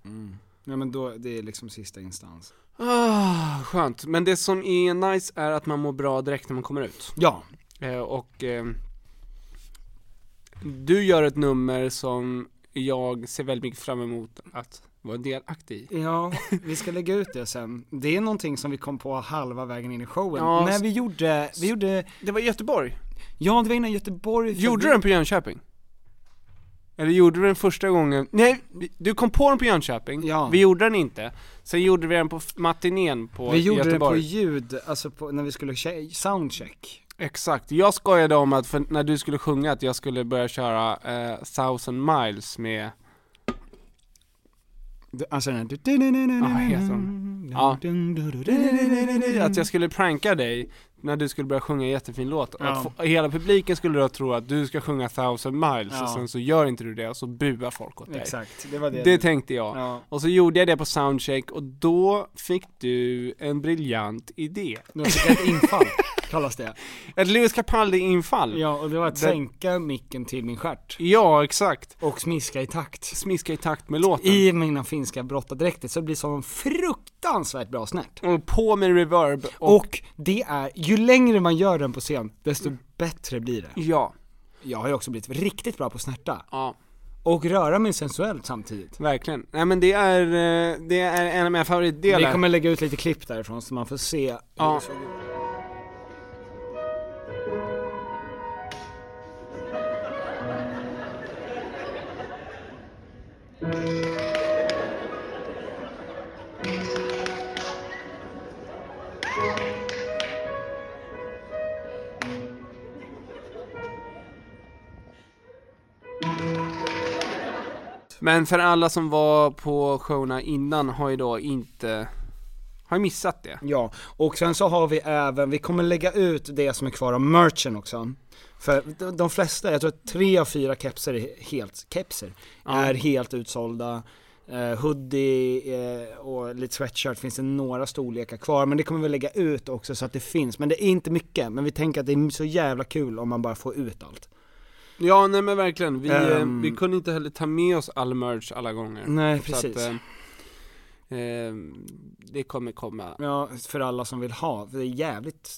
Speaker 1: Ja men då, det är liksom sista instans.
Speaker 2: Ah, skönt. Men det som är nice är att man mår bra direkt när man kommer ut.
Speaker 1: Ja.
Speaker 2: Eh, och eh, du gör ett nummer som jag ser väldigt mycket fram emot att vara delaktig i.
Speaker 1: Ja, vi ska lägga ut det sen. Det är någonting som vi kom på halva vägen in i showen.
Speaker 2: Ja,
Speaker 1: När
Speaker 2: s-
Speaker 1: vi gjorde, vi gjorde,
Speaker 2: Det var i Göteborg.
Speaker 1: ja det var innan Göteborg. för
Speaker 2: Gjorde
Speaker 1: vi-
Speaker 2: du den på Jönköping? Eller gjorde du den första gången? Nej, vi- du kom på den på Jönköping.
Speaker 1: Ja.
Speaker 2: Vi gjorde den inte. Sen gjorde vi den på f- matinén på
Speaker 1: Vi gjorde det på
Speaker 2: Göteborg.
Speaker 1: ljud, alltså på, när vi skulle che- soundcheck.
Speaker 2: Exakt, jag skojade om att för när du skulle sjunga att jag skulle börja köra eh, 1000 miles med,
Speaker 1: Det- Alltså den här...
Speaker 2: vad heter hon? Ja. att jag skulle pranka dig när du skulle börja sjunga en jättefin låt. Och
Speaker 1: Ja.
Speaker 2: Att få, hela publiken skulle då tro att du ska sjunga 1000 miles
Speaker 1: Ja.
Speaker 2: och sen så gör inte du det och så buar folk åt dig.
Speaker 1: Exakt, det var det.
Speaker 2: Det tänkte jag.
Speaker 1: Ja,
Speaker 2: Och så gjorde jag det på soundcheck och då fick du en briljant idé.
Speaker 1: då fick jag ett infall, kallas det.
Speaker 2: Ett Lewis Capaldi-infall.
Speaker 1: Ja, och det var att
Speaker 2: Det-
Speaker 1: sänka micken till min stjärt.
Speaker 2: Ja, exakt.
Speaker 1: Och smiska i takt.
Speaker 2: Smiska i takt med låten.
Speaker 1: I mina finska brottardräkter, så det blir som en fruktansvärt bra snärt.
Speaker 2: Och på med reverb och,
Speaker 1: Och, det är, ju längre man gör den på scen, desto bättre blir det.
Speaker 2: ja,
Speaker 1: Jag har ju också blivit riktigt bra på snärta.
Speaker 2: ja,
Speaker 1: Och röra mig sensuellt samtidigt.
Speaker 2: verkligen. Nej men det är, eh, det är en av mina
Speaker 1: Vi
Speaker 2: favoritdelar.
Speaker 1: kommer lägga ut lite klipp därifrån så man får se hur
Speaker 2: Ja.
Speaker 1: det såg ut.
Speaker 2: Men för alla som var på showerna innan har ju då inte, har ju missat det.
Speaker 1: Ja, och sen så har vi även, vi kommer lägga ut det som är kvar av merchen också. För de- de flesta, jag tror att tre av fyra kepser är helt, kepser, är helt utsålda. Eh, hoodie eh, och lite sweatshirt finns det några storlekar kvar, men det kommer vi lägga ut också så att det finns. Men det är inte mycket, men vi tänker att det är så jävla kul om man bara får ut allt.
Speaker 2: Ja nej men verkligen, vi, eh,
Speaker 1: Ehm.
Speaker 2: vi kunde inte heller ta med oss all merch alla gånger.
Speaker 1: Nej,
Speaker 2: Så att,
Speaker 1: precis.
Speaker 2: eh, eh, det kommer komma.
Speaker 1: Ja, för alla som vill ha, för det är jävligt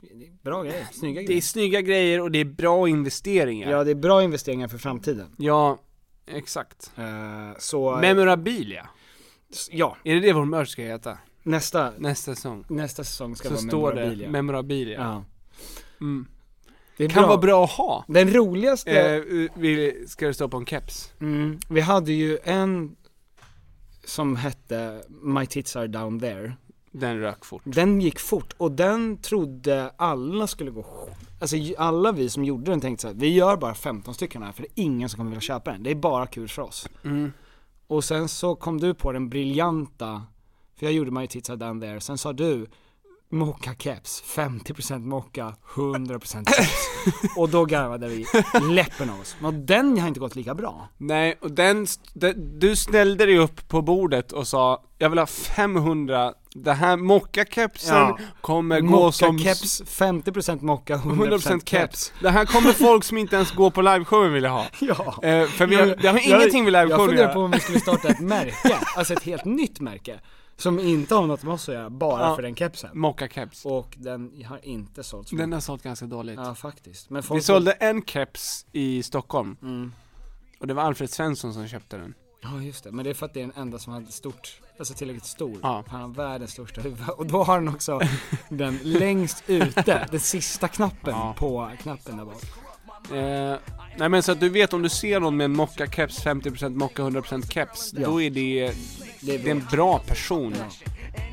Speaker 1: det är bra grejer, snygga
Speaker 2: Det är
Speaker 1: grejer.
Speaker 2: snygga grejer och det är bra investeringar.
Speaker 1: Ja, det är bra investeringar för framtiden.
Speaker 2: Ja, exakt.
Speaker 1: Eh, så,
Speaker 2: Memorabilia.
Speaker 1: ja,
Speaker 2: Är det det vår merch ska heta?
Speaker 1: nästa,
Speaker 2: Nästa säsong?
Speaker 1: Nästa säsong ska
Speaker 2: Så
Speaker 1: vara
Speaker 2: står
Speaker 1: memorabilia.
Speaker 2: det memorabilia.
Speaker 1: ja.
Speaker 2: Mm.
Speaker 1: Det är
Speaker 2: Kan
Speaker 1: bra.
Speaker 2: vara bra att ha.
Speaker 1: Den roligaste,
Speaker 2: Eh, vi, ska det stå på en keps?
Speaker 1: mm, vi hade ju en som hette My tits are down there.
Speaker 2: Den rök fort.
Speaker 1: Den gick fort och den trodde alla skulle gå sj- Alltså ju- alla vi som gjorde den tänkte så här, vi gör bara 15 stycken här för det är ingen som kommer vilja köpa den. Det är bara kul för oss. Och sen så kom du på den briljanta, för jag gjorde My tits are down there, sen sa du Mocka keps, 50% mocka, 100% keps. Och då garvade vi läppen av oss. Men den har inte gått lika bra.
Speaker 2: Nej, och den, st- den, du ställde dig upp på bordet och sa jag vill ha 500, det här mockakepsen
Speaker 1: Ja.
Speaker 2: kommer gå som
Speaker 1: Mocka
Speaker 2: s-
Speaker 1: keps, 50% mocka, 100%,
Speaker 2: 100%
Speaker 1: keps.
Speaker 2: keps. Det här kommer folk som inte ens går på liveshowen vilja ha.
Speaker 1: Ja.
Speaker 2: Eh, för vi har, det har
Speaker 1: Jag-
Speaker 2: ingenting med
Speaker 1: Jag
Speaker 2: liveshowen att
Speaker 1: funderar på
Speaker 2: göra.
Speaker 1: om vi skulle starta ett märke, alltså ett helt nytt märke. Som inte har något med oss att göra, bara
Speaker 2: Ja.
Speaker 1: för den kepsen.
Speaker 2: Mockakeps.
Speaker 1: Och den har inte sålts
Speaker 2: Den har sålt ganska dåligt.
Speaker 1: Ja faktiskt. Men folk Mm.
Speaker 2: Vi sålde en keps i Stockholm. Och det var Alfred Svensson som köpte den.
Speaker 1: Ja just det, men det är för att det är den enda som hade stort, alltså tillräckligt stor.
Speaker 2: Ja.
Speaker 1: Han har världens största huvud och då har han också den längst ute, den sista knappen
Speaker 2: Ja.
Speaker 1: på knappen där bak.
Speaker 2: Eh, nej men så att du vet om du ser någon med en mocka-keps, 50% mocka, 100% keps,
Speaker 1: Ja.
Speaker 2: då är det, det, är en bra person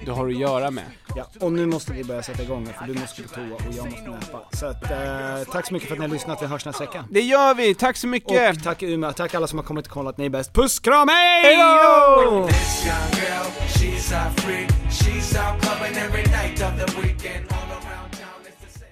Speaker 2: du har att göra med.
Speaker 1: Ja, och nu måste vi börja sätta igång här för du måste på toa och jag måste näpa. Så att, eh, tack så mycket för att ni har lyssnat, vi hörs nästa vecka.
Speaker 2: Det gör vi, tack så mycket!
Speaker 1: Och tack Umeå, tack alla som har kommit och kollat, ni är bäst. Puss, kram, hej!
Speaker 2: Hejdå!
Speaker 10: This young girl, she's a freak. She's out clubbing every night of the weekend. All around town, it's the same.